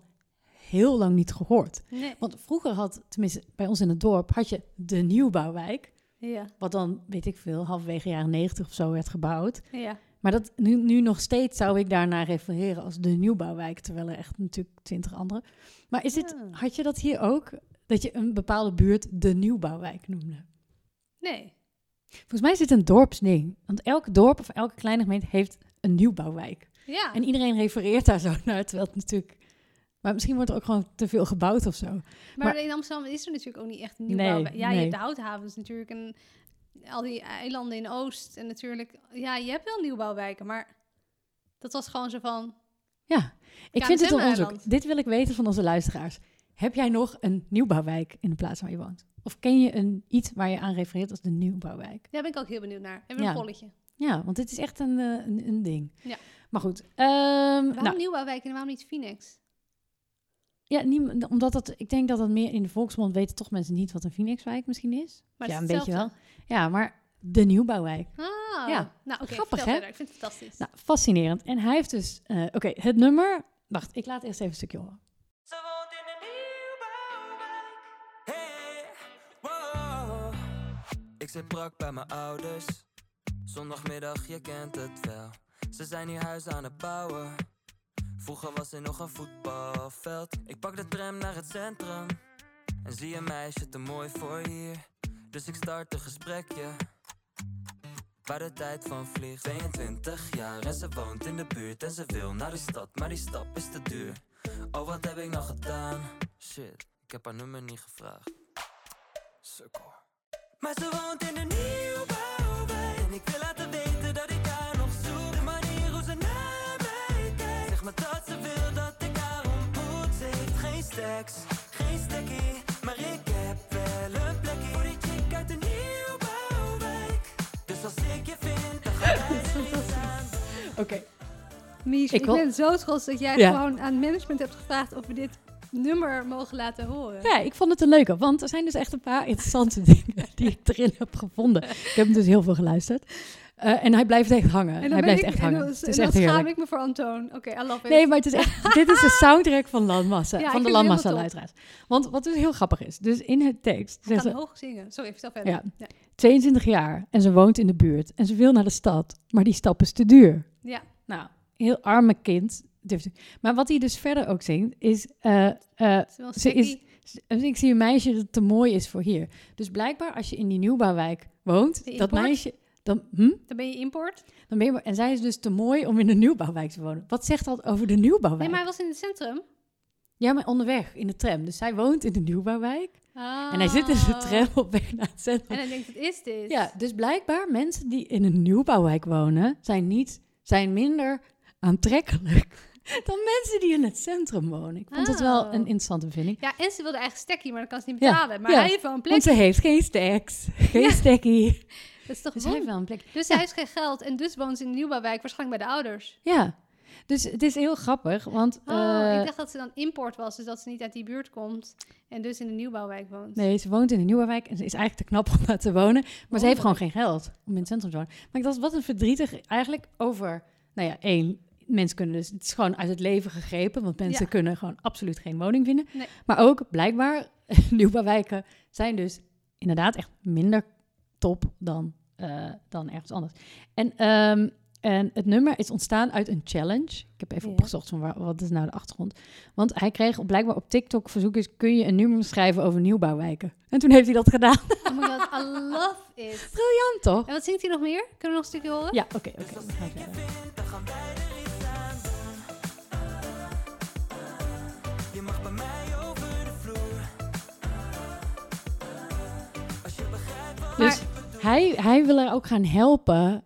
B: heel lang niet gehoord.
C: Nee.
B: Want vroeger had, tenminste bij ons in het dorp, had je de nieuwbouwwijk.
C: Ja,
B: Wat dan, weet ik veel, halverwege jaren 90 of zo werd gebouwd.
C: ja.
B: Maar dat nu, nu nog steeds zou ik daarnaar refereren als de nieuwbouwwijk. Terwijl er echt natuurlijk twintig andere. Maar is dit,
C: Ja.
B: had je dat hier ook? Dat je een bepaalde buurt de nieuwbouwwijk noemde?
C: Nee.
B: Volgens mij is dit een dorpsding. Want elk dorp of elke kleine gemeente heeft een nieuwbouwwijk.
C: Ja.
B: En iedereen refereert daar zo naar. Terwijl het natuurlijk... Maar misschien wordt er ook gewoon te veel gebouwd of zo.
C: Maar,
B: Maar-
C: in Amsterdam is er natuurlijk ook niet echt
B: Nee,
C: nieuwbouw. ja, je
B: nee.
C: hebt de houthavens natuurlijk en al die eilanden in Oost. En natuurlijk, ja, je hebt wel nieuwbouwwijken, maar dat was gewoon zo van...
B: Ja, ik vind het een onderzoek.
C: KNSM-eiland.
B: Dit wil ik weten van onze luisteraars. Heb jij nog een nieuwbouwwijk in de plaats waar je woont? Of ken je een, iets waar je aan refereert als de nieuwbouwwijk?
C: Daar ben ik ook heel benieuwd naar. Hebben we
B: Ja. Nou.
C: een polletje?
B: Ja, want dit is echt een, eh, een, een ding.
C: Ja.
B: Maar goed. ehm,
C: Waarom
B: nou,
C: nieuwbouwwijken en waarom niet Phoenix?
B: ja, niem- omdat dat, ik denk dat dat meer in de volksmond weten toch mensen niet wat een Phoenixwijk misschien is.
C: Maar
B: ja,
C: het
B: een
C: is
B: beetje wel.
C: hetzelfde.
B: Ja, maar de nieuwbouwwijk.
C: Ah,
B: Ja.
C: nou, oké, vertel
B: Grappig, hè?
C: verder. Ik vind het fantastisch.
B: Nou, fascinerend. En hij heeft dus, eh, oké, het nummer. Wacht, ik laat eerst even een stukje horen.
D: Ze woont in een nieuwbouwwijk. Hey, wow. Ik zit brak bij mijn ouders. Zondagmiddag, je kent het wel. Ze zijn hier huis aan het bouwen. Vroeger was er nog een voetbalveld. Ik pak de tram naar het centrum. En zie een meisje te mooi voor hier. Dus ik start een gesprekje. Waar de tijd van vliegt 22 jaar en ze woont in de buurt En ze wil naar de stad, maar die stap is te duur Oh, wat heb ik nou gedaan? Shit, ik heb haar nummer niet gevraagd. Sukkel. Maar ze woont in een nieuwbouwwijk. En ik wil laten weten dat ik haar nog zoek. De manier hoe ze naar mij kijkt. Zeg maar dat ze wil dat ik haar ontmoet. Ze heeft geen stacks, geen stekkie. Maar ik heb wel een plekje voor die chick uit de nieuwbouwwijk. Dus als ik je vind, dan ga jij er niet aan.
B: Oké.
C: Mies,
B: Ik
C: ik,
B: wil-
C: ben zo trots dat jij
B: Ja.
C: gewoon aan management hebt gevraagd of we dit nummer mogen laten horen.
B: Ja, ik vond het een leuke, want er zijn dus echt een paar interessante dingen die ik erin heb gevonden. Ik heb hem dus heel veel geluisterd. Eh, en hij blijft echt hangen.
C: En dan ben
B: hij blijft
C: ik,
B: echt
C: en
B: hangen.
C: dan,
B: het is
C: en dan
B: echt
C: schaam
B: heerlijk.
C: ik me voor Antoon. Oké, I love it.
B: Nee, maar het is echt, dit is de soundtrack van Landmassa,
C: Ja, ik vind
B: van de
C: het
B: Landmassa
C: helemaal
B: luisteraars. Want wat dus heel grappig is, dus in het tekst
C: ik
B: zegt
C: kan
B: ze
C: hoog zingen. Sorry, vertel verder.
B: Ja.
C: Ja.
B: 22 jaar en ze woont in de buurt en ze wil naar de stad, maar die stap is te duur.
C: Ja.
B: Nou, heel arme kind. durft- Maar wat hij dus verder ook zingt is, eh, eh,
C: het is wel
B: Ze is-
C: sticky.
B: Dus ik zie een meisje dat te mooi is voor hier. Dus blijkbaar als je in die nieuwbouwwijk woont,
C: Die
B: dat
C: import?
B: meisje, dan, hm?
C: Dan ben je import.
B: dan ben je maar- en zij is dus te mooi om in de nieuwbouwwijk te wonen. Wat zegt dat over de nieuwbouwwijk?
C: Nee, maar hij was in het centrum.
B: Ja, maar onderweg in de tram. Dus zij woont in de nieuwbouwwijk en hij zit in de
C: Oh.
B: tram op weg naar het centrum.
C: En hij denkt, wat is dit?
B: Ja, dus blijkbaar mensen die in een nieuwbouwwijk wonen zijn niet, zijn minder aantrekkelijk dan mensen die in het centrum wonen. Ik vond het wel
C: Oh.
B: een interessante bevinding.
C: Ja, en ze wilde eigenlijk stekkie, maar dat kan ze niet
B: Ja,
C: betalen. Maar
B: ja.
C: hij heeft wel een plek.
B: Want ze heeft geen stacks, geen stekkie.
C: Dat is toch
B: Dus
C: won-
B: hij heeft wel een plek.
C: Dus
B: Ja.
C: hij heeft geen geld en dus woont ze in de nieuwbouwwijk, waarschijnlijk bij de ouders.
B: Ja, dus het is heel grappig, want...
C: Oh,
B: eh,
C: ik dacht dat ze dan import was, dus dat ze niet uit die buurt komt en dus in de nieuwbouwwijk woont.
B: Nee, ze woont in een nieuwe wijk en ze is eigenlijk te knap om daar te wonen. Maar ze
C: Wonderlijk.
B: heeft gewoon geen geld om in het centrum te wonen. Maar ik dacht, wat een verdrietig eigenlijk over... Nou ja, één, mensen kunnen dus... Het is gewoon uit het leven gegrepen, want mensen
C: Ja.
B: kunnen gewoon absoluut geen woning vinden.
C: Nee.
B: Maar ook, blijkbaar, nieuwbouwwijken zijn dus inderdaad echt minder top dan, eh, dan ergens anders. En ehm, En het nummer is ontstaan uit een challenge. Ik heb even
C: Ja.
B: opgezocht van waar- wat is nou de achtergrond. Want hij kreeg op- blijkbaar op TikTok verzoekjes... kun je een nummer schrijven over nieuwbouwwijken? En toen heeft hij dat gedaan.
C: Oh my god, I love it.
B: Briljant, toch?
C: En wat zingt hij nog meer? Kunnen we nog een stukje horen?
B: Ja, oké, oké. we gaan verder.
D: Dan gaan wij er iets aan doen. Je mag bij mij over de vloer. Als je begrijpt wat
B: Dus hij, hij wil haar ook gaan helpen.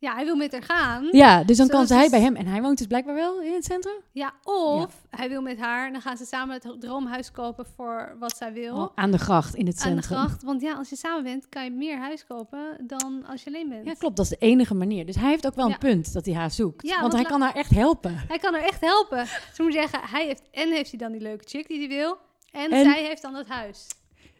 C: Ja, hij wil met haar gaan.
B: Ja, dus dan
C: Zo,
B: kan
C: dat
B: zij
C: is-
B: bij hem. En hij woont dus blijkbaar wel in het centrum?
C: Ja, of hij wil met haar en dan gaan ze samen het droomhuis kopen voor wat zij wil.
B: Oh, aan de gracht in het
C: aan de
B: centrum.
C: gracht. Want ja, als je samen bent, kan je meer huis kopen dan als je alleen bent.
B: Ja, klopt. Dat is de enige manier. Dus hij heeft ook wel
C: Ja.
B: een punt dat hij haar zoekt.
C: Ja, want
B: want hij
C: la-
B: kan haar echt helpen.
C: Hij kan haar echt helpen. Ze moet zeggen, hij heeft, en heeft hij dan die leuke chick die hij wil. En,
B: En-
C: zij heeft dan dat huis.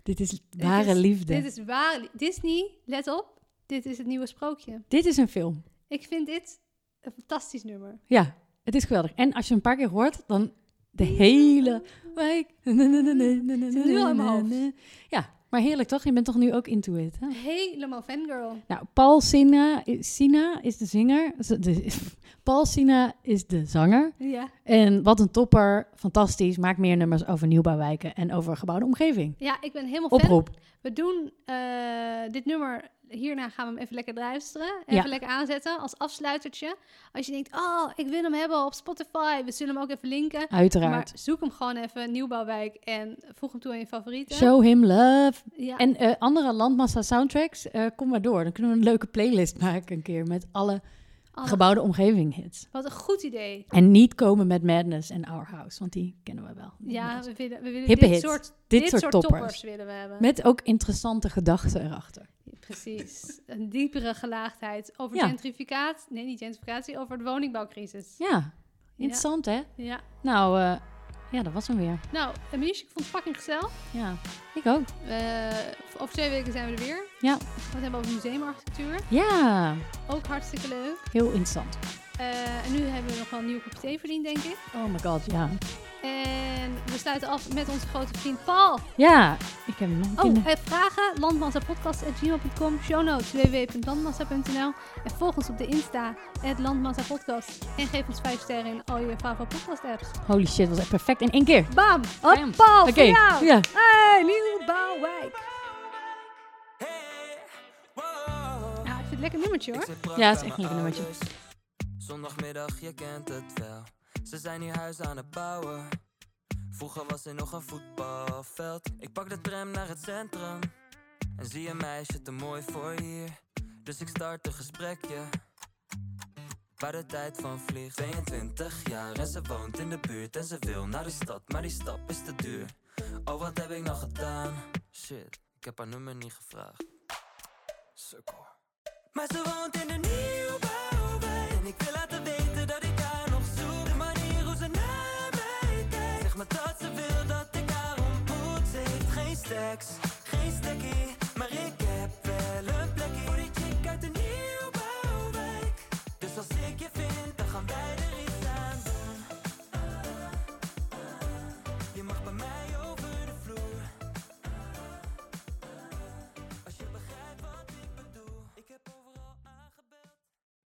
B: Dit is ware
C: Ware is-
B: liefde.
C: Dit is waar. Disney, let op. Dit is het nieuwe sprookje.
B: een film.
C: Ik vind dit een fantastisch nummer.
B: Ja, het is geweldig. En als je een paar keer hoort, dan de hele wijk.
C: Zit nu al in mijn hoofd.
B: Ja, maar heerlijk toch? Je bent toch nu ook into it, hè?
C: Helemaal fangirl.
B: Nou, Paul Sina, Sina is de zinger. Z- de- Paul Sina is de zanger.
C: Ja.
B: En wat een topper. Fantastisch. Maakt meer nummers over nieuwbouwwijken en over gebouwde omgeving.
C: Ja, ik ben helemaal fan.
B: Oproep.
C: We doen eh, dit nummer. Hierna gaan we hem even lekker luisteren. Even
B: Ja.
C: lekker aanzetten als afsluitertje. Als je denkt, oh, ik wil hem hebben op Spotify. We zullen hem ook even linken.
B: Uiteraard.
C: Maar zoek hem gewoon even, Nieuwbouwwijk. En voeg hem toe aan je favorieten.
B: Show him love.
C: Ja.
B: En eh, andere Landmassa soundtracks, eh, kom maar door. Dan kunnen we een leuke playlist maken een keer met alle
C: Anne,
B: gebouwde omgeving hits.
C: Wat een goed idee.
B: En niet komen met Madness en Our House, want die kennen we wel.
C: Ja, we willen, we willen
B: Hippe
C: dit,
B: hits.
C: soort, dit,
B: soort toppers.
C: willen we hebben.
B: Met ook interessante gedachten erachter.
C: Precies. Een diepere gelaagdheid over
B: Ja.
C: gentrificaat. Nee, niet gentrificatie, over de woningbouwcrisis.
B: Ja, interessant hè?
C: Ja.
B: Nou, eh, ja, dat was hem weer.
C: Nou, Amish, ik vond het fucking gezellig.
B: Ja, ik ook.
C: Eh, over twee weken zijn we er weer.
B: Ja.
C: We gaan het hebben over museumarchitectuur.
B: Ja,
C: Ook hartstikke leuk.
B: heel interessant.
C: Eh, en nu hebben we nog wel een nieuw kopje thee verdiend, denk ik.
B: Oh my god, ja.
C: En we sluiten af met onze grote vriend Paul.
B: Ja, ik heb nog een
C: Oh,
B: kinder.
C: eh, vragen? landmassapodcast.gmail.com Show notes www.landmassa.nl En volg ons op de Insta, het landmassapodcast. En geef ons 5 sterren in al je favoriete podcast apps.
B: Holy shit, was echt perfect in één keer.
C: Bam!
B: Bam.
C: Op Paul, Oh,
B: Oké,
C: voor jou!
B: ja.
C: Hey, nieuwe bouwwijk!
D: Hey, wow.
C: Nou, ik vind het lekker nummertje hoor.
D: Ik zit brak
B: Ja, het
D: bij
B: is echt
D: mijn
B: een lekker nummertje.
D: ouders. Zondagmiddag, je kent het wel. Ze zijn hier huis aan het bouwen. Vroeger was er nog een voetbalveld. Ik pak de tram naar het centrum. En zie een meisje te mooi voor hier. Dus ik start een gesprekje. Waar de tijd van vliegt. 22 jaar en ze woont in de buurt. En ze wil naar de stad, maar die stap is te duur. Oh, wat heb ik nog gedaan? Shit, ik heb haar nummer niet gevraagd. Sukkel. Maar ze woont in een nieuw Dus